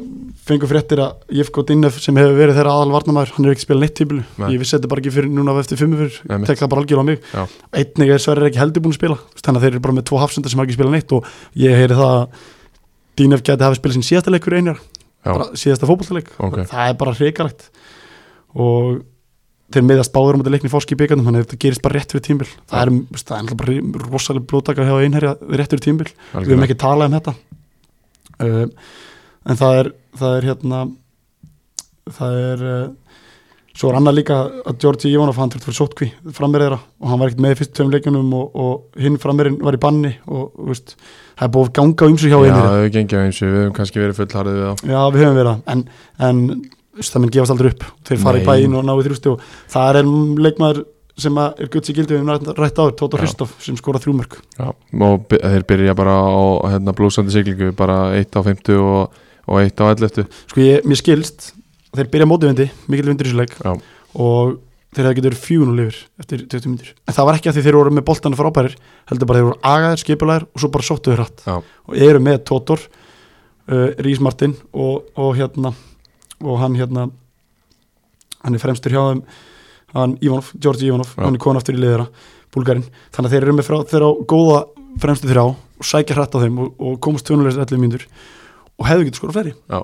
A: fengur fréttir að Jefko Dinnef sem hefur verið þeirra aðal varnamæður hann er ekki spilað neitt típilu,
B: Nei.
A: ég vissi þetta bara ekki fyrir núna eftir fimmu
B: Nei,
A: fyrir,
B: mitt.
A: tek það bara algjörlega á mig
B: Já.
A: einnig er Sverrir ekki heldur búin að spila þannig að þeir eru bara með tvo hafsendar sem hafa ekki spilað neitt og ég heyri það að Dinnef geti hafa spilað sín síðasta leikur einar
B: Já.
A: bara síðasta fótballtaleik
B: Ok.
A: það er bara hrikalegt og þeir meðast báður um þetta leikni fórski í byggandum þannig að þetta gerist bara rétt fyrir tímbil það er, þú veist, það er náttúrulega bara rosalega blótaka hjá einherja rétt fyrir tímbil, við höfum
B: algjörlega.
A: ekki talað um þetta um, en það er það er hérna það er uh, svo er annað líka að Georgi Ivanov hann þurft fyrir sótkví frammeir þeirra og hann var ekkert með í fyrstu tveim leikjunum og, og hinn frammeirinn var í banni og þú veist, það er búið að ganga um sig hjá
B: Já,
A: einherja
B: það hefur gengið eins og við höfum kannski verið fullharðið við þá
A: Já, við höfum verið það en, en þú veist, það minn gefast aldrei upp þeir fara í
B: Nei.
A: bæinn og náu þrjústi og það er leikmaður sem að er gutt sér gildið við höfum rætt- rætt áður, Tóta
B: Já.
A: Hristof sem skora þrjúmörk
B: Já, og by- þeir byrja bara á hérna, blúsandi siglingu, bara 1 á 50 og, og 1 á 11
A: sko ég, mér skilst, að þeir byrja mótivindi mikil vindur í þessu leik
B: Já.
A: og þeir hefði getur fjúnul yfir eftir 20 minnir en það var ekki af því þeir voru með boltana frábærir heldur bara þeir voru agaðir, skipulæðir og svo bara sóttu þeir hratt
B: Já.
A: og eru með Tótor uh, Rís Martin og, og hérna og hann hérna hann er fremstur hjá þeim hann Ivanov, Georgi Ivanov,
B: Já.
A: hann er kona aftur í liðara búlgarinn, þannig að þeir eru með frá, þeirra góða fremstu þrjá og sækja hratt á þeim og, og komast tjónulegst 11 mínútur og hefðu getur skora fleiri
B: Já.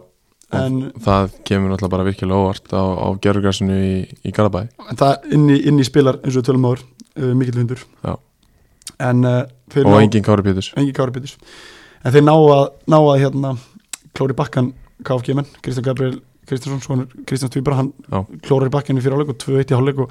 A: en,
B: Það kemur náttúrulega bara virkilega óvart á, á gerðugrassinu í, í Garabæ
A: en það inn í, inn í spilar eins og við tölum áður uh, mikill hundur
B: Já.
A: en uh, þeir
B: og
A: ná-
B: engin Kári Péturs
A: engin Kári Péturs en þeir ná að, ná að hérna, klóri bakkan KFG menn, Kristján Gabriel Kristjánsson, svonur Kristján Tvíbra hann
B: Já.
A: klórar í bakkann í fyrir áleik og 2-1 í hálfleik og,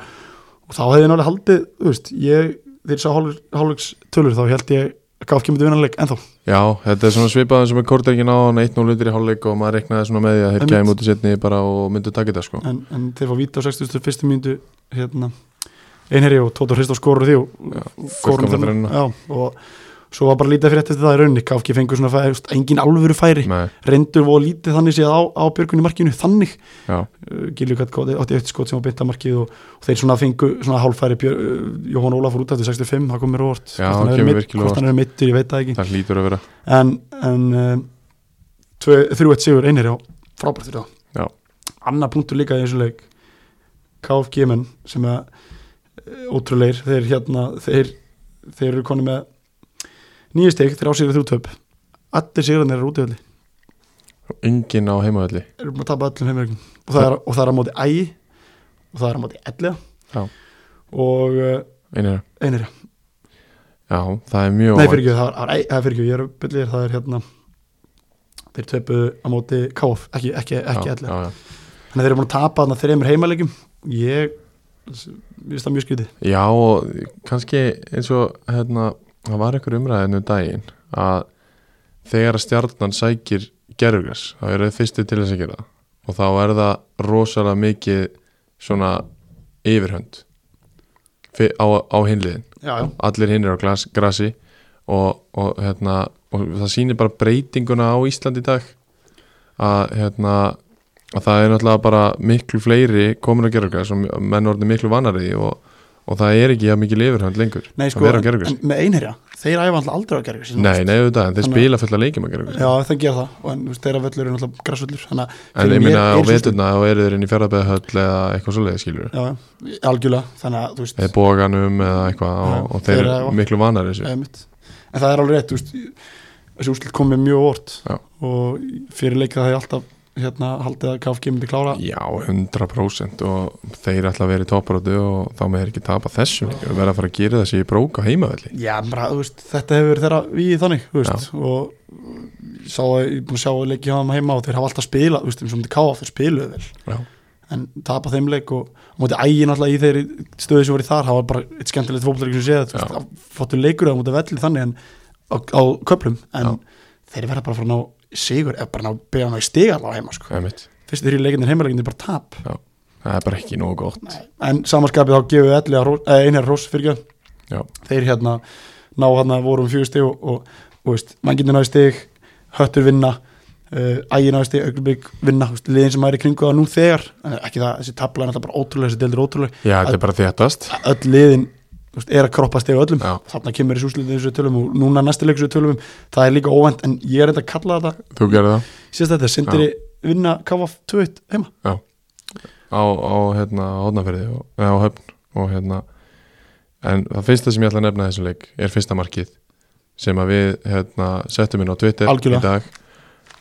A: og þá hefði nálega haldið þú veist, ég, þeir sá hálfleiks tölur þá held ég að KFG myndi vinna leik ennþá
B: Já, þetta er svona svipaðan sem er korteikin á hann 1-0 undir í hálfleik og maður reknaði svona með því að þeir
A: Einmitt.
B: gæmi út í setni bara og myndu taka þetta sko
A: en, en þeir fá víta á 61. mínútu hérna, einherji og Tóta Hristof skorur því og
B: fullkomna
A: skorum þennan
B: þrennuna.
A: já, og svo var bara lítið fyrir eftir það í rauninni KFG fengur svona, fæ- þú veist, engin alvöru færi
B: Nei,
A: reyndur og lítið þannig séð á, á björgunni markinu þannig
B: já,
A: Eh, Gilju Katt Kóti átti eftir skot sem var beint að markið og, og þeir svona fengu svona hálfæri Björ, uh, Jóhann Ólafur út eftir 65, það kom mér óvart
B: Já,
A: hann
B: það
A: er
B: kemur
A: meidd-
B: virkilega
A: hvort hann er mittur, ég veit það ekki
B: það hlýtur að vera
A: en, en uh, tvö- 3-1 sigur einir já, frábært fyrir
B: Já.
A: það annar punktur líka í þessu leik KFG menn sem að eh, ótrúleir, þeir hérna þeir, þeir eru konu með nýju steg, þeir ásýrið þrjú töp allir sigurinn eru útöðli
B: engin á heimavalli
A: erum búin að tapa öllum heimverkjum og, það er- og það er á móti ægi og það er á móti ellega
B: Já.
A: og uh,
B: einir,
A: einir,
B: já, það er mjög
A: nei
B: óvænt.
A: fyrir ekki það var, æ, það er fyrir ekki, ég er byllir, það er hérna þeir töpuðu á móti káf, ekki, ekki, ekki
B: Já,
A: ellega
B: já, já.
A: þannig að þeir eru búin að tapa þarna þreymur heimalegjum ég, ég veist það mjög skrítið
B: Já, og kannski eins og hérna, það var einhver umræðinu daginn að þegar að stjarnan sækir gerfugræs, þá eru þið fyrstu til þess að gera það. og þá er það rosalega mikið svona yfirhönd fi- á, á hinliðin,
A: já, já,
B: allir hinn eru á glas, grasi og, og, hérna, og það sýnir bara breytinguna á Íslandi í dag að hérna að það er náttúrulega bara miklu fleiri komin að gerfugræs og menn orðin miklu vannariði og, og það er ekki jafn mikið lifurhönd lengur
A: nei
B: að
A: sko
B: vera
A: en,
B: á gerfugræs
A: en með einherja, þeir æfa alltaf aldrei á gerfis
B: Nei, nei, auðvitað, en þeir
A: Þannig að-
B: spila fullt að leikjum að gerfugræs
A: já, það gera það, og en þú veist, þeirra völlur eru náttúrulega grassvöllur þannig að
B: En
A: fyrir
B: ég
A: mér
B: minna á
A: er svolítið-
B: veturna þá eru þeir inn í fjárðabæðahöll eða eitthvað svoleiði skilur
A: já, já, algjörlega, þannig að þú veist
B: eða bóganum eða eitthvað og,
A: Já,
B: og þeir
A: þeir
B: eru
A: eru-
B: miklu vanari þessu
A: Einmitt. en það er alveg rétt þú veist, þessi úrslit komið mjög óvart
B: Já.
A: og fyrir leikið það ég alltaf hérna, haldið að KFG myndi klára
B: Já, 100% og þeir ætla að vera í topparötu og þá með þeir ekki tapa þessu leik og vera að fara að gera þessi í brók á heimavalli
A: Já, bara, þú veist, þetta hefur verið þeirra við þannig þú veist, og sá, að- ég er búin að sjá að leikið hann heima og þeir hafa alltaf spilað, þú veist, eins og myndi KF þeir spiluðu vel
B: Já,
A: en tapa þeim leik og á móti ægin alltaf í þeirri stöðu sem voru í þar það var bara eitt skemmtilegt fótbolleik sem séð
B: Já.
A: fóttu leikur á móti velli þannig en á, á köplum en þeir verða bara að fara að ná sigur eða bara ná, byrja að ná í stiga allavega heima sko.
B: emitt
A: fyrstu þrjú leikinnir heimaleginnir bara tap
B: Það er bara ekki nógu gott
A: en samanskapið þá gefur elli að hrós- eh, einherjar hrós fyrir
B: Já.
A: þeir hérna ná hérna voru um fjögur stig og, og, og veist, manngindir náði stig höttur vinna uh, ægir náði stig, augnubík vinna þú veist, liðin sem er í kringu það nú þegar en ekki það, þessi tabla er náttúrulega bara ótrúlega þessi deildir ótrúlega,
B: Já, þetta er bara þéttast
A: öll liðin þú veist, er að kroppa stig á öllum
B: Já.
A: þarna kemur þessi úslitið þessu tölum og núna næsti leik þessu tölum um. það er líka óvænt en ég er þetta að kalla þetta
B: Þú gerði það
A: síðast þetta, sindri vinna KF 2-1 heima
B: á, á hérna hóðnaferði og, eða á höfn og hérna en það fyrsta sem ég ætla að nefna í þessum leik er fyrsta markið sem að við hérna settum inn á Twitter
A: Algjörlega.
B: í dag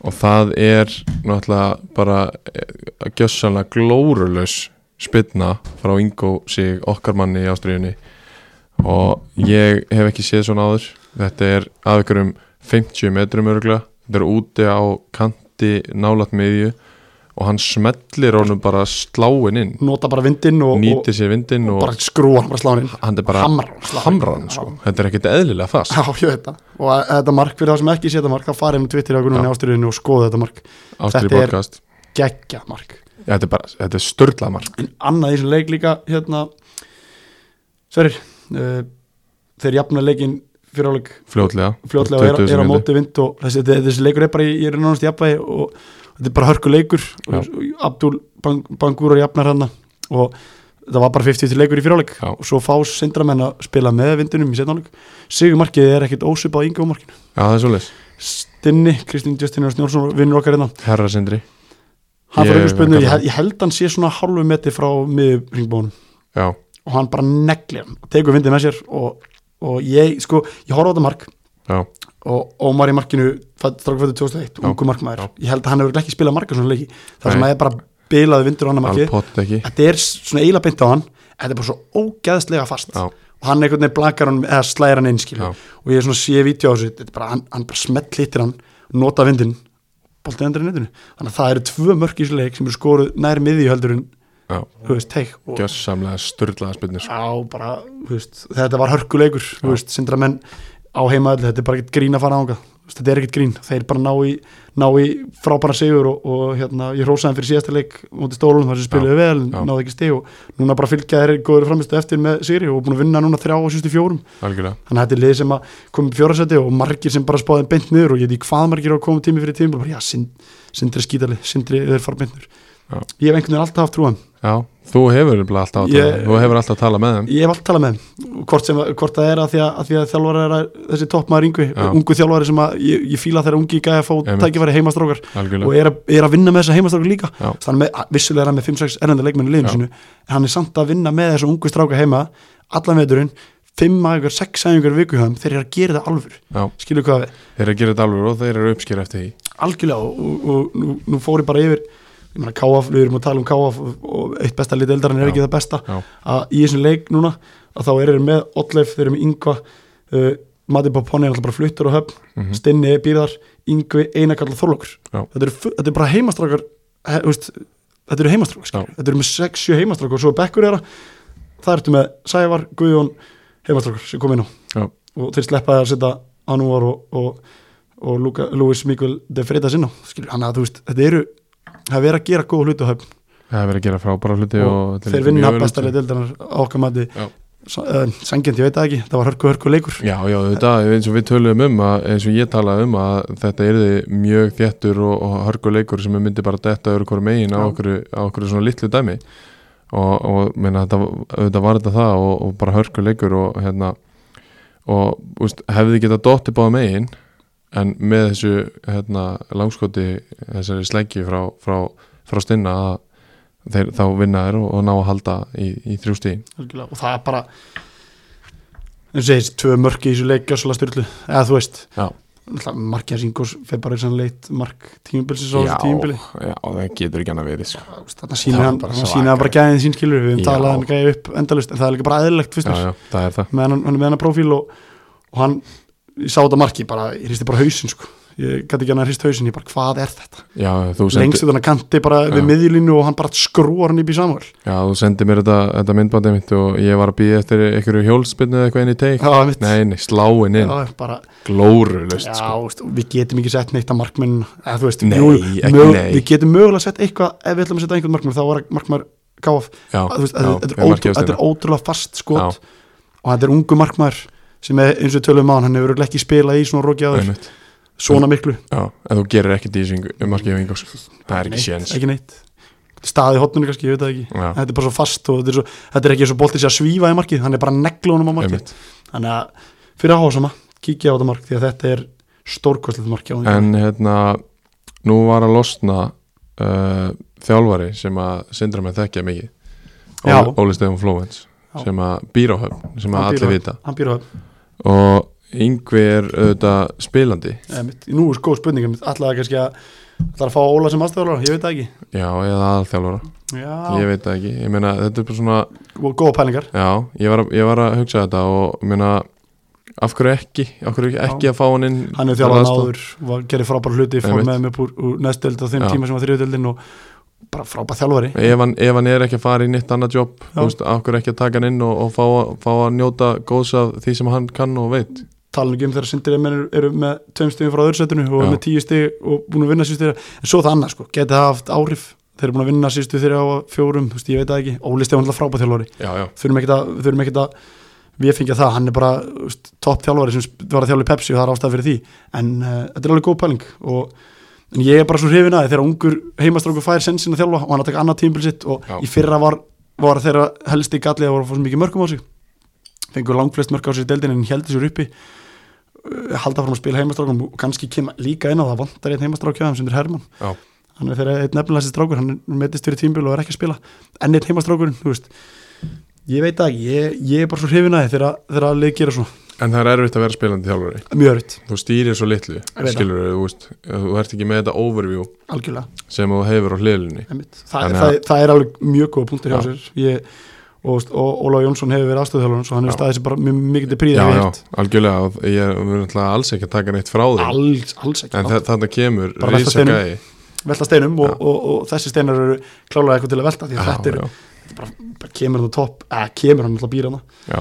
B: og það er náttúrulega bara að gjössanlega glórulaus spilna frá Ingo sig okkar manni í ástriðunni og ég hef ekki séð svona áður þetta er af ykkur um 50 metrum örgla þetta er úti á kanti nálat miðju og hann smellir honum bara sláin inn
A: nota bara vindinn og, og,
B: nýtir sér vindin
A: og
B: og,
A: bara skrúa hann bara slánin
B: hann er bara
A: hamra hann, slá hann.
B: hamran sko. þetta er ekkert eðlilega fast
A: Já, ég veit það og að- að þetta mark fyrir það sem ekki sé þetta mark þá farið með Twitter á
B: Já.
A: Gunnarni ástriðinu og skoða þetta mark
B: ástriði
A: þetta er-
B: podcast
A: geggja mark
B: ja, þetta er, bara- þetta er störla mark
A: en annað í þessum leik líka hérna Sverir uh, þeir jafna leikin fyrir áleik
B: fljótlega
A: fljótlega og er,
B: 20
A: er á
B: sekúndur.
A: móti vind og þessi, þessi, þessi leikur er bara í, ég er nánast jafnvægi og þetta er bara hörku leikur
B: Já.
A: og, og Abdul Bang, Bangur og jafnar hann og það var bara 50 til leikur í fyrirháleik
B: Já.
A: og svo fá sindramenn að spila með vindunum í setnáleik Sigurmarkið er ekkit ósipað á yngjómarkinu
B: já það er svolítið
A: Stinni, Kristín Justin og Snjórsson vinnur okkar hérna
B: herra sindri
A: hann
B: Ég-
A: fór ekki spilinu,
B: hann-
A: ég, hel- ég held hann sé svona hálfu metri frá miður ringbónum
B: já
A: og hann bara neglir hann og tekur vindið með sér og, og ég sko, ég horfa á þetta mark
B: já
A: og Ómar í markinu strákfættu 2001,
B: Já.
A: ungu markmaður ég held að hann hefur örugglega ekki spilað marka svona leiki það sem
B: Nei.
A: að er bara bilaði vindur á annar markið
B: alpott ekki
A: þetta er svona eiginlega beint á hann þetta er bara svo ógeðslega fast
B: Já.
A: og hann einhvern veginn blakar hann eða slæðir hann einskilu
B: Já.
A: og ég er svona að sé vítja á þessu þetta er bara, hann, hann bara smelt hittir hann nota vindin, boltið endur í netinu þannig að það eru tvö mörk í þessu leik sem eru skoruð nær miðju heldur en,
B: já
A: þú veist, teik og
B: gjössamlega störla spilnir sko.
A: á bara, þú veist, þetta var hörkuleikur þú veist, sindra menn á heimaðall þetta er bara ekkert grín að fara ánga þetta er ekkert grín, þeir bara ná í, ná í frábæra sigur og, og hérna ég hrósaði þeim fyrir síðasta leik mútið stólunum þar sem spiluðu vel, en
B: já.
A: náðu ekki stig og núna bara fylgja þeir góður framistu eftir með sigri og búin að vinna núna þrjá og sýstu fjórum
B: algjörlega
A: þannig að þetta er lið sem að komið fjórasæti og margir sem bara spáði þeim beint niður og ég veit ekki hvað margir á að koma tími fyrir tími bara, já, sind, sindri er skítalið, sindri þeir fara beint niður
B: Já.
A: ég hef einhvern veginn alltaf haft trúan
B: já þú hefur nefnilega alltaf að tala
A: Ég-
B: þú hefur alltaf að tala með þeim
A: Ég hef allt talað með þeim hvort, sem, hvort það er að því að, að, því að þjálfari er að, þessi toppmaður yngvi,
B: Já.
A: ungu þjálfari sem að ég, ég fíla þegar ungi gæði að fá
B: Einmitt.
A: tækifæri heimastrákar og
B: algjörlega
A: er að, er að vinna með þessa heimastrákar líka
B: Já.
A: þannig með, að- vissulega er hann með 5-6 erlenda leikmenn í liðinu
B: Já.
A: sinu en hann er samt að vinna með þessa ungu stráka heima allan veturinn, fimm aðeins, sex aðeins viku hjá þeim, þeir eru að gera það alvör
B: Já.
A: skilu hvað við,
B: þeir eru að gera þetta alveg og þeir eru að uppskera eftir því
A: algjörlega og, og, og nú, nú fór ég bara yfir ég meina KF, við erum að tala um KF og, og eitt besta lið eldarinn er
B: Já.
A: ekki það besta
B: Já.
A: að í þessum leik núna að þá eru þeir með Oddleif, þeir eru með Yngva uh, Mati Boponi er alltaf bara fluttur og höfn
B: mm
A: Stinni býrðar, Yngvi, Einakall og Þorlókur
B: Já.
A: þetta eru, fu- þetta eru bara heimastrákar he, veist, þetta eru heimastrákar skilur.
B: Já.
A: þetta eru með 6-7 heimastrákar og svo bekkur er það það ertu með Sævar, Guðjón heimastrákar sem kom inn á
B: Já.
A: og þeir sleppaði að setja Anúar og, og, og Luka, Lúis Mikkel de Freitas inn á skilur, hann að þú veist, þetta eru það er verið að gera góða hluti á höfn
B: það er verið að gera frábæra hluti og,
A: og
B: þetta er
A: þeir
B: líka
A: vinna
B: mjög
A: besta
B: örugglega.
A: leið deildarinnar á okkar mati
B: Já.
A: sangjönd, ég veit það ekki, það var hörku hörku leikur
B: Já, já, þetta, eins og við töluðum um að, eins og ég talaði um að þetta yrði mjög þéttur og, og hörkuleikur sem myndi bara detta öru hverju megin á
A: Já.
B: okkur, á okkur svona litlu dæmi og, og meina, þetta, auðvitað var þetta það og, og bara hörkuleikur og hérna og úst, hefði getað dotti báða megin en með þessu hérna, langskoti þessari sleggi frá, frá, frá stinna að þeir, þá vinna þeir og, og ná að halda í, í þrjústi
A: Algjörlega, og það er bara eins og segist, tvö mörki í þessu leik gjössalega styrlu, eða þú veist
B: Já.
A: markið hans Ingos fer bara í sann leitt mark tímubilsins á
B: Já,
A: þessu tímubili
B: já, það getur ekki annað verið sko.
A: þannig að sína
B: Það er
A: hann,
B: bara
A: hann
B: svakalegt.
A: sína bara gæðin sín skilur við höfum
B: Já.
A: talað hann gæði upp endalust en það er líka bara eðlilegt fyrst
B: já,
A: mér,
B: já, það er það
A: meðan hann, hann er með hann profíl og, og hann, ég sá þetta marki bara, ég hristi bara hausinn sko ég gæti ekki hann að hrist hausinn, ég bara hvað er þetta
B: Já, þú
A: lengst
B: sendi,
A: þetta hann kanti bara
B: Já.
A: við miðjulínu og hann bara skrúar hann upp í Samuel
B: já, þú sendi mér þetta, þetta myndbandið mitt og ég var að býja eftir einhverju hjólspinnu eða eitthvað inn í teik.
A: það var mitt
B: Nei, nei, sláin inn,
A: Já, bara,
B: glórulust
A: Já,
B: sko.
A: veist, við getum ekki sett neitt að markmenn eða þú veist,
B: Nei, ekki nei.
A: við getum mögulega sett eitthvað, ef við ætlum að setja einhvern markmenn þá var markmenn gáf
B: Já,
A: Að þú veist,
B: já,
A: að þetta, er
B: við
A: ótrú,
B: markið á
A: þetta er
B: Steina.
A: ótrúlega fast skot og þetta er ungu markmaður sem er eins og tölum á hann, hann hefur örugglega ekki spilað í svona róki áður,
B: Einmitt.
A: svona miklu
B: Já, en þú gerir ekki dísingu, um markið af yngos. Það er ekki
A: neitt,
B: séns.
A: ekki neitt staði hotnunni kannski, ég veit það ekki
B: Já.
A: þetta er bara svo fast og þetta er, svo, þetta er ekki eins og boltið sé að svífa í markið, hann er bara neglunum á markið
B: Einmitt.
A: þannig að fyrir að hásama, kíkja á þetta mark því að þetta er stórkostlið markið á því
B: En hérna, nú var að losna uh, þjálfari sem að sindra með þekkja mikið.
A: Já.
B: Óli- Óli Stefán Flóvens,
A: Já.
B: sem að býr á höfn, sem að
A: Hann býr á
B: allir
A: Höfn.
B: vita.
A: hann býr á það
B: Og yngvi er auðvitað spilandi.
A: Nei, mitt, nú er sko spurningum, allavega kannski að allavega að fá Óla sem aðstofalvara, ég veit það ekki
B: Já, eða aðalþjálfara. Ég
A: Já,
B: veit það ekki, ég meina þetta er bara svona
A: og góða pælingar
B: Já, ég var, að- ég var að hugsa þetta og ég meina af hverju ekki, af hverju ekki að fá hann inn
A: Hann er
B: til
A: þjálfan
B: aðstoð?
A: áður, var- gerir frábær hluti fór
B: Einmitt.
A: með mig upp úr, úr næstdöld á þeim
B: Já.
A: tíma sem var þriðutöldin og bara frábær þjálfari
B: ef hann, ef hann er ekki að fara í nýtt annað jobb,
A: Já.
B: þú veist, af hverju ekki að taka hann inn og, og fá, fá að njóta góðs af því sem hann kann og veit
A: talan ekki um þegar sindir menn eru, eru með tveim stegum frá öðursættinu og
B: Já.
A: með tíu steg og búin að vinna sístu þeirra en svo það annað sko, geti það haft áhrif þeir eru búin að vinna sístu þeirra á fjórum þú veist, ég veit það ekki, Óli Stefán er alltaf frábær þjálfari
B: Já, já,
A: þurfum ekkert að, þurfum ekkert að við fengja það, hann er bara þú veist, topp þjálfari sem sp- var að þjálfa í Pepsi og það er ástæð fyrir því en uh, þetta er alveg góð pæling og en ég er bara svo hrifin að því þegar ungur heimastrákur fær sensin að þjálfa og hann að taka annað tímbil sitt og
B: Já.
A: í fyrra var, var þeirra helsti gallið að voru að fá svo mikið mörgum á sig fengur langflest mörg á sig í deildin en heldur sér uppi uh, halda fram að spila heimastrákum og kannski kemur líka inn á það vantar einn heimastrákjaðum sem er Herman
B: Já.
A: hann er þegar einn nefnilega þessi strákur hann er metist fyrir tímbil og er ekki að spila enn einn heimastrákurinn, þú veist ég veit það ekki, ég, ég er bara svo hrifin að þið þegar, þegar að lið gera svona,
B: en það er erfitt að vera spilandi þjálfari
A: mjög örytt
B: þú stýrir svo litlu,
A: veit það.
B: skilur þú veist þú ert ekki með þetta overview
A: algjörlega,
B: sem þú hefur á hliðlunni
A: einmitt það,
B: Þannig
A: það,
B: að-
A: það, er alveg mjög góða punktur hjá
B: Já.
A: sér ég, og, veist, og Óla Jónsson hefur verið aðstöðhjálfun svo hann hefur
B: Já.
A: staðið sér bara mjög mikið til príða
B: Já,
A: við
B: já,
A: hitt,
B: algjörlega, og ég er við erum náttúrulega alls ekki að taka neitt frá þig
A: alls, alls ekki
B: En
A: það...
B: þa- þarna kemur
A: Bara velta
B: Rísa
A: steinum.
B: Gæi
A: velta steinum og,
B: Já.
A: og, og, þessi steinar eru klálega eitthvað til að velta því að þetta er,
B: já,
A: bara kemur hann á topp eða kemur hann alltaf býr hann
B: já.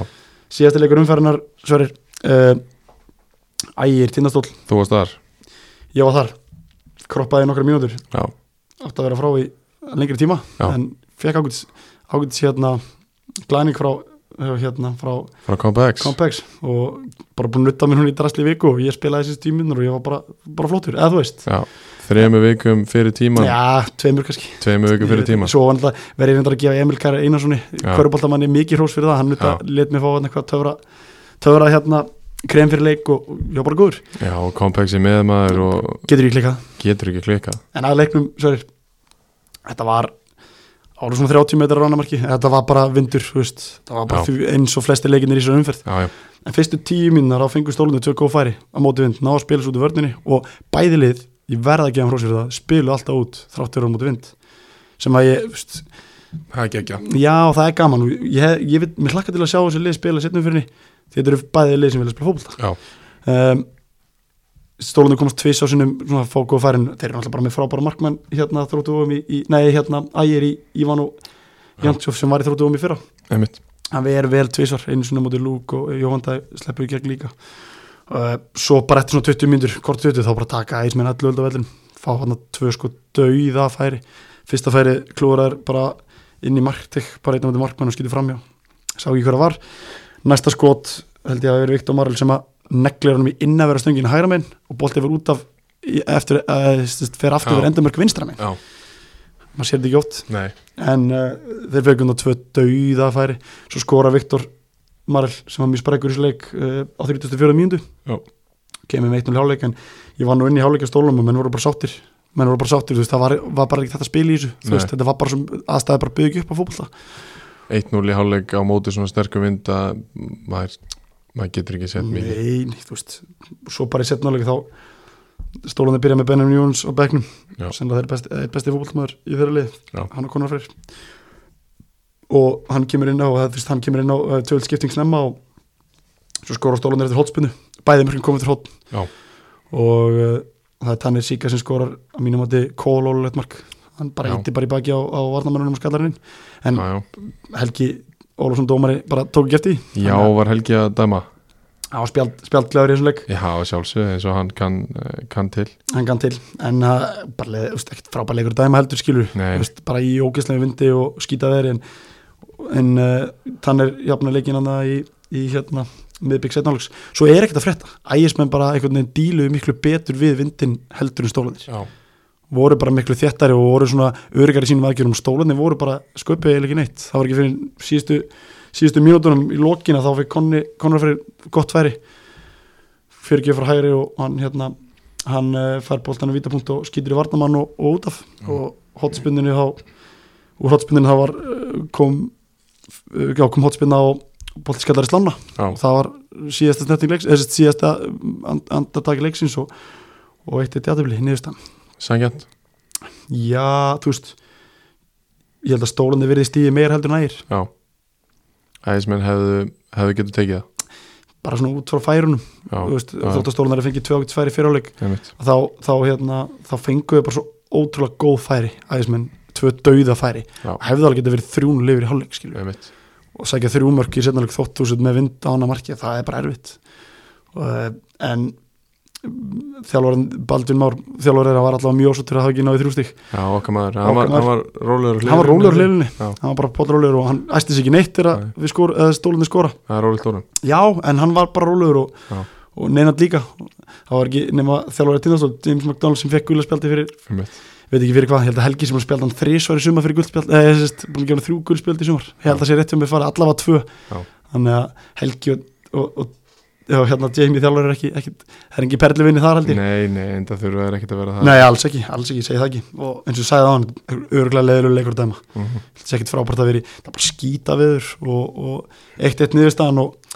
A: síðasti leikur umferðinar, Sverrir uh, Ægir Tindastóll,
B: Þú varst þar
A: ég var þar kroppaði nokkra mínútur
B: Já,
A: átti að vera frá í lengri tíma
B: Já.
A: en fekk ágætis, ágætis hérna glæning frá eh, hérna frá
B: frá Compax
A: Compex og bara búin að nutta mér hún í drastli viku og ég spilaði þessi tíminur og ég var bara, bara flottur, eða þú veist
B: Já, þremu vikum fyrir tíman
A: Já, tveimur kannski
B: Tveimu vikum fyrir
A: Ég-
B: tíman
A: Svo var náttúrulega- verð ég reyndar að gefa Emil Kæra Einarssoni
B: Já.
A: Köruboltamanni mikið hrós fyrir það, hann nutta,
B: Já.
A: let mér fá hérna eitthvað töfra töfra hérna krem fyrir leik og og ég var bara góður,
B: Já, og Compax er með maður og
A: getur ég klikkað
B: getur ekki klikað
A: en að leiknum, sorry þetta var ára svona 30 metrar á annamarki þetta var bara vindur, þú veist það var bara
B: Já.
A: því, eins og flesti leikinnir í þessari umferð
B: já, já,
A: en fyrstu tíu mínunar á fengu stólunni tvö góð færi á móti vind, ná að spila svo út í vörninni og bæði lið, ég verða að gefa hann frá sér það spilu alltaf út þráttur á móti vind sem að ég, þú veist,
B: það er geggja
A: Já, það er gaman og ég, ég, ég veit, mér hlakka til að sjá þessu lið spila setnum fyrir henni, þetta eru bæðið lið sem vilja spila
B: Já.
A: fótbolta um, Stólunni komast tvis á sinum svona fóku og færin, þeir eru náttúrulega bara með frábæra markmann hérna þróttu um í, í nei, hérna ægir í Ivan og
B: Já.
A: Jantjóf sem var í þróttu um í fyrra,
B: einmitt,
A: hann við erum vel tvisvar einu sinna móti Lúk og Jóhanda sleppu í gegn líka uh, svo bara eftir svona 20 myndur, hvort 20 þá bara taka ægis með allu öld á vellin, fá hann að tvö sko dauða færi fyrsta færi klúrar bara inn í marktek, bara einn á þetta markmann og skýtur framjá sá ekki hverja var næsta skot held ég að vera Viktor Marl sem að neglir hann í innavera stöngin hægra megin og boltið fyrir út af í- eftir, uh, fyrir aftur
B: Já.
A: fyrir endamörk vinstra megin,
B: já,
A: maður sér þetta ekki ótt
B: nei
A: en uh, þeir fegum það tvö dauða færi svo skora Viktor Marl sem var mjög sprekkur í þessu leik uh, á 34. mínútu
B: Já.
A: kemur með 1-0 í hálfleik en ég var nú inn í hálfleikja stólum og menn voru bara sáttir menn voru bara sáttir, þú veist, það var, var bara ekki þetta spil í þessu þú
B: Nei.
A: veist, þetta var bara sem aðstæði bara byggja upp á fótbolta
B: 1-0 í hálfleik á móti svona sterkum vind að maður, maður getur ekki sett mikið
A: Nei, nei, þú veist Svo bara í setnáleik þá Stólandi byrja með Benjamin Jóns á bekknum
B: Já.
A: sem það er besti, einn besti fótboltmaður í þeirra lið
B: Já.
A: hann og konar freyr og hann kemur inn á eh, þú veist, hann kemur inn á uh, tjöld skipting snemma og svo skora Stólandi eftir hotspinnu bæði mörgum komið til hotn
B: Já.
A: og uh, það er Tannir Sika sem skorar að mínum átti kólólulegt mark hann bara
B: Já.
A: ítti bara í baki á, á varnamörunum og skallarinn en
B: já, já.
A: Helgi Ólafsson dómari bara tók ekki eftir því
B: já,
A: Hann,
B: var Helgi að dæma
A: uh, hann var spjald, spjaldglæður í þessum leik
B: já, að sjálfsögðu eins og hann kann, eh, kann til
A: hann kann til en það er bara leið, veist, ekkert frábær leikur að dæma heldur skilur
B: Nei.
A: veist, bara í ógeðslegu vindi og skýta veri en, en uh, þann er jafna leikin hann í, í hérna miðbygg setnálegs, svo er ekkert að frétta ægismenn bara einhvern veginn díluðu miklu betur við vindin heldur en stólanir
B: já,
A: voru bara miklu þéttari og voru svona öryggar í sínum aðgjörum, stólanir voru bara sköpið eða ekki neitt, það var ekki fyrir síðustu síðustu mínútunum í lokina þá fekk Konni- Konrad fyrir gott færi fyrir frá hægri og hann hérna, hann uh, fær boltan á vítapunkt og skýtir í varnamann og, og út af og hotspinninu þá úr hotspinninu þá var eh, kom, eh, já, kom hotspinna og bolti skallar í slána
B: já,
A: og það var síðasta snerting leiks, eða sem sagt síðasta mm, and- andartaki leiksins og, og eitt eitt játafli niðurstan
B: sangjant
A: já, þú veist ég held að stólandi verði stíði meir heldur nær
B: já, æðismenn hefðu hefðu getur tekið
A: bara svona út frá færunum
B: það
A: þú
B: já,
A: veist,
B: já.
A: þótt að stólandi fengið tvö ágætt færi fyrirháleik
B: einmitt,
A: þá, þá, hérna, þá fenguðu bara svo ótrúlega góð færi ægismenn, tvö dauða færi
B: Já.
A: og hefði alveg getið verið þrjún lifur í hálfleik skilju
B: einmitt
A: og sækja þrjú mörk í setnaleg þótt þú sett með vind á hana marki það er bara erfitt uh, en mm, þjálfarinn Baldvin Már þjálfarinn var allavega mjög ásóttur að hafa ekki náði þrjústík
B: já, okkar maður, hann var,
A: Okkar maður.
B: hann var rólegur á
A: hann var rólegur
B: hliðinni.
A: hlilinni,
B: Já.
A: hann var bara potrólegur og hann æsti sig ekki neitt þegar
B: Nei.
A: við skor, eða stólunni skora
B: það er rólegt orðum
A: já, en hann var bara rólegur og,
B: Já.
A: og neinat líka það var ekki nema þjálfarinn tindastól James McDonald sem fekk gullaspjaldi fyrir
B: einmitt,
A: veit ekki fyrir hvað, ég held að Helgi sem spjaldi hann þrísvar í sumar fyrir guldspjald, eða ég sést, búin að gefa hann þrjú guldspjald í sumar, ég held að sé rétt um að fara allavega tvö,
B: Já.
A: þannig að Helgi og, og, og, og hérna Jamie þjálfur er ekki, ekki, það er ekki perluvinni þar held ég,
B: nei, nei, enda þurfa þær ekkert að vera það
A: nei alls ekki, alls ekki, ég segi það ekki og eins og ég sagði á hann, örgulega leiðilega leikur að dæma,
B: Mhm.
A: þetta er ekkit frábært að veri það er bara skýta viður og, og eitt eitt niðurstaðan og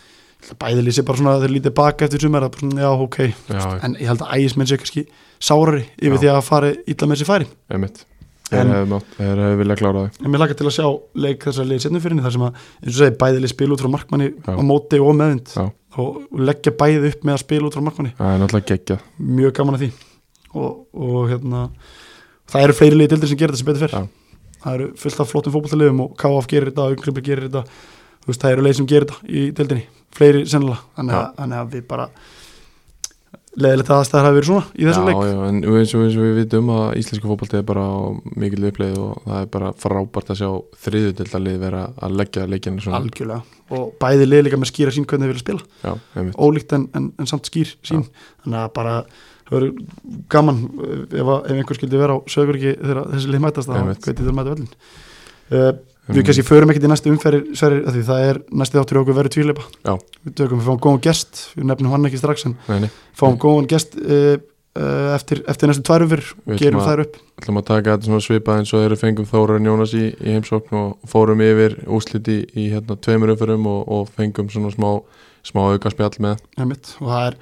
A: bæði lýsi bara svona, þeir lítið baka eftir sumar að bara svona, já, ok,
B: já,
A: en ég held að ægismenn sé kannski sárari yfir
B: Já.
A: því að fari illa með sér færi
B: einmitt
A: En-
B: þeir hefðu mátt- þeir hefðu viljað klára það
A: en mér lakar til að sjá leik þessar leið setnum fyrir henni þar sem að, eins og segi, bæði leið spil út frá markmanni
B: Já.
A: á móti og meðvind
B: Já.
A: og leggja bæði upp með að spila út frá markmanni
B: það er náttúrulega geggjað
A: mjög gaman að því og, og hérna, það eru fleiri leið dildir sem gerir þetta sem betur fer
B: Já.
A: það eru fullt af flottum fótballtaliðum og KF gerir þetta, Unglipur gerir þetta þú veist, það eru leið sem gerir þetta í dildinni fleiri sennilega, þannig að, þannig að við bara leiðilegt að aðstæðar hafi verið svona í þessum
B: já,
A: leik
B: já, en eins og, eins og við vitum að íslensku fótbolti er bara á mikil uppleið og það er bara frábært að sjá þriðutöldalið vera að leggja leikinu svona
A: algjörlega og bæði leið líka með skýra sín hvernig þau vilja spila
B: já, einmitt,
A: ólíkt en, en, en samt skýr sín þannig að bara það verður gaman eh, ef, að- ef einhver skildi vera á sögurki þegar þessi lið mætast þá
B: Einmitt.
A: veit ég þurfum að mæta völlin uh, við
B: Einmitt.
A: kannski förum ekkert í næstu umferðir sverir því það er næsti þáttur hjá okkur verður tvíleipa
B: Já.
A: við tökum, við fáum góðan gest við nefnum hann ekki strax en
B: nei, nei,
A: fáum góðan gest uh, uh, eftir, eftir næstu tvær umfyrir
B: Við ætlum
A: gerum
B: að-
A: þær upp
B: ætlum að taka þetta svona svipað eins og þeirra fengum Þórarinn Jónas í, í heimsókn og fórum yfir úsliti í hérna tveimur umförum og, og fengum svona smá, smá auka spjall með
A: einmitt, og það er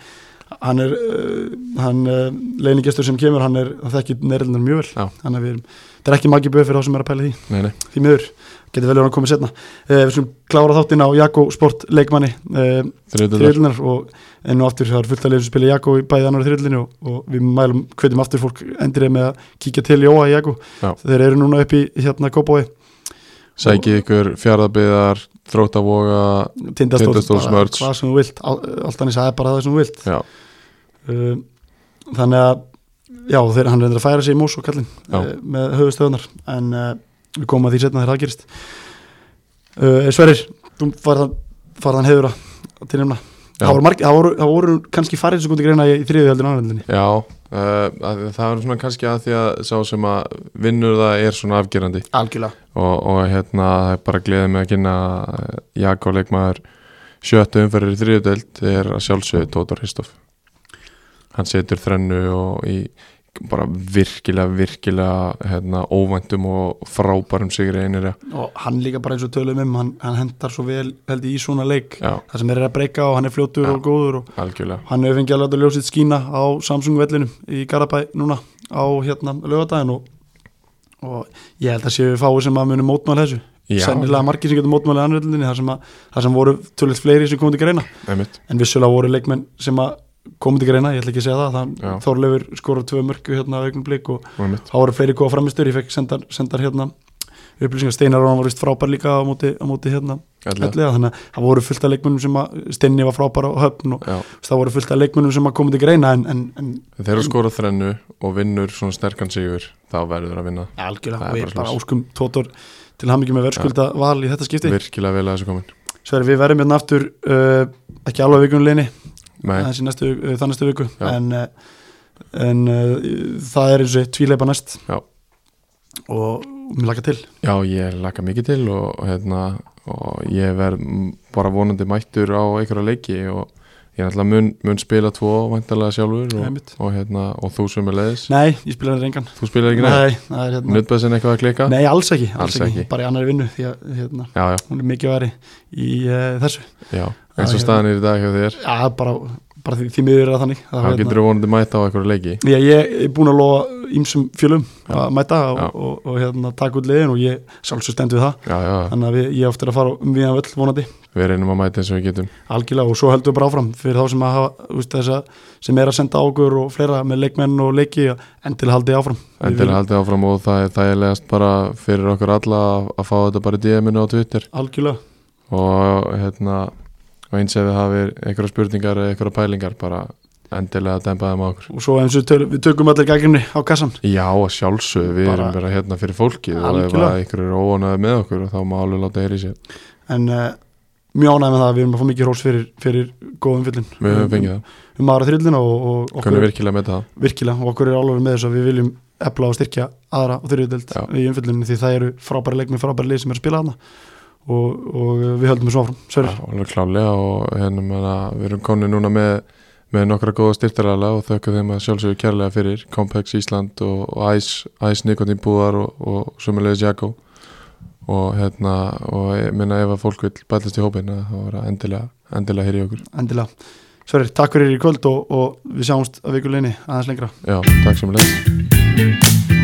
A: hann er, uh, hann uh, leiningestur sem kemur, hann er, það ekki neyrildunar mjög vel
B: Já.
A: þannig að við erum, það er ekki magi böð fyrir þá sem er að pæla í því
B: Nei, nei,
A: því miður, getur vel verið að hann komið setna uh, við skulum klára þáttinn á Jakko Sport leikmanni uh,
B: þriðutöldar
A: þriðlunar og enn og aftur það er fullt að leiðum sem spila Jakko í bæði annar þriðlunni og, og við mælum, hvetjum aftur fólk endrið með að kíkja til Jóa í Jakko
B: Já.
A: þeir eru núna upp í hérna Kópói
B: Sækið ykkur fjaraðbyðar, þróttavoga Tindastóls
A: Tindastóls, bara
B: merch.
A: hvað sem þú vilt al- allt hann í sæði bara það sem þú vilt
B: Já,
A: uh, þannig að já, þeir, hann reyndir að færa sig í mós og kallinn
B: Já.
A: uh, með höfustöðunar en uh, við komum að því setna þegar það gerist uh, Sverrir, þú farðan farðan hefur að til nefna
B: Já.
A: það voru, marg, það, voru, það voru kannski farið sem kundi greina í, í þriðju heldur en annaðlunni
B: já uh, að, það er svona kannski að því að sá sem að vinnur það er svona afgerandi
A: algjörlega,
B: og, og hérna það er bara gleðið með að kynna eh, Jakob Leikmaður sjöttu umferðir í þriðutöld er að sjálfsögðu Tóthar Histoff hann setur þrennu og í bara virkilega, virkilega hérna, óvæntum og frábærum sigri einir
A: og hann líka bara eins og tölum um hann, hann hendar svo vel held ég, í svona leik
B: já,
A: það sem er að breyka og hann er fljótur
B: Já.
A: og góður og
B: algjörlega
A: hann hefur fengið að láta ljósið skína á Samsung vellinum í Garabæ núna á hérna lögadaginn og, og ég held að séu fáið sem að muni mótmála þessu
B: Já,
A: sennilega margir sem getur mótmála annaðlunni þar, sem að- þar sem voru tölvöld fleiri sem komið til greina
B: einmitt,
A: en vissulega voru leikmenn sem að komið til greina, ég ætla ekki að segja það,
B: Já.
A: það Þorleifur skorað tvö mörku hérna á augnum blik og
B: einmitt
A: þá voru fleiri góða framistur, ég fekk sendar, sendar hérna upplýsingar, Steinar Rónan var vist frábær líka á móti, á móti hérna,
B: Ætla.
A: ellega, þannig að það voru fullt af leikmennum sem að Steinni var frábær á höfn og
B: Já,
A: Þú veist, það voru fullt af leikmunum sem að koma til greina en, en, en
B: þegar þú skora þrennu og vinnur svona sterkan sigur þá verður að vinna
A: algjörlega,
B: Það er
A: við
B: bara
A: bara
B: svoleiðis.
A: áskum Tótor til hamingjum með verðskulda val í þetta skipti
B: virkilega vel að þessu komin
A: Sverri, við verðum hérna aftur uh, ekki alveg vikunleginni,
B: Nei,
A: þessi næstu uh, það næstu viku,
B: Já.
A: en uh, en uh, það er eins og tvíleipa næst
B: Já.
A: og mér laka til
B: Já, ég laka mikið til og, og hérna, og ég verð m- bara vonandi mættur á einhverja leiki og ég ætla mun, mun spila tvo væntalega sjálfur og,
A: Einmitt.
B: og, hérna, og þú sem er leiðis
A: Nei, ég spila hérna engan
B: Þú spilar ekki neitt?
A: Nei, það er hérna
B: Nutbæðsinn eitthvað að klika?
A: Nei, alls ekki, alls,
B: Alls
A: ekki.
B: ekki.
A: bara í annari vinnu því að hérna,
B: Já, já,
A: hún er mikið væri í uh, þessu
B: já, eins og
A: Já,
B: staðan er í dag hjá þér
A: Já, bara, bara því, því miður er það þannig
B: Þá getur þú vonandi mæta á einhverja leiki
A: Já, ég er búin að lofa ýmsum fjölum
B: Já.
A: að mæta og,
B: Já.
A: og, og, hérna, taka út liðin og ég sjálfsög stend við það
B: Já, já,
A: þannig að við, ég áttir að fara um viðan völl vonandi
B: við reynum að mæta eins og við getum
A: algjörlega og svo heldum við bara áfram fyrir þá sem, að hafa, úst, þessa, sem er að senda águr og fleira með leikmenn og leiki endilega haldið áfram Við
B: En til að
A: viljum-
B: halda áfram og það er þægilegast bara fyrir okkur alla að, að fá þetta bara í DM-inu á Twitter
A: Algjörlega,
B: og hérna og eins ef þið hafið einhverja spurningar eða einhverja pælingar bara endilega að dempa þeim á okkur
A: og svo eins og við töl, við tökum allir gagginni á kassan
B: Já, að sjálfsögðu, við
A: Bara-
B: erum bara hérna fyrir fólkið og ef
A: Algjörlega.
B: að einhverju er óanæði með okkur þá má alveg láta heyri sér
A: en uh, mjög ánægð með það að við erum að fá mikið rós fyrir, fyrir góðum fyllin
B: Við höfum fengið það,
A: um aðra þrillina og, og okkur-
B: kunum virkilega með það
A: virkilega og okkur er alveg með þess að við viljum efla og styrkja aðra og þriðudeld
B: Já.
A: í umfyllunni því það eru frábæri leikmi, frábæri lið sem er að spila hana og, og við höldum þessu áfram Sverrir,
B: Já, Alveg klálega og hérna menna, við erum komin núna með, með nokkra góða styrtaræðla og þökkum þeim að sjálfsögðu kærlega fyrir Complex Ísland og, og Ice, Ice Nikotin Búðar og, og sömulegis Jakko og hérna og ég minna ef að fólk vil bætast í hópin þá er það endilega, endilega heyri í okkur
A: endilega Sverrir, takk fyrir í kvöld og, og við sjáumst að vikuleginni aðeins lengra
B: Já, takk sem leys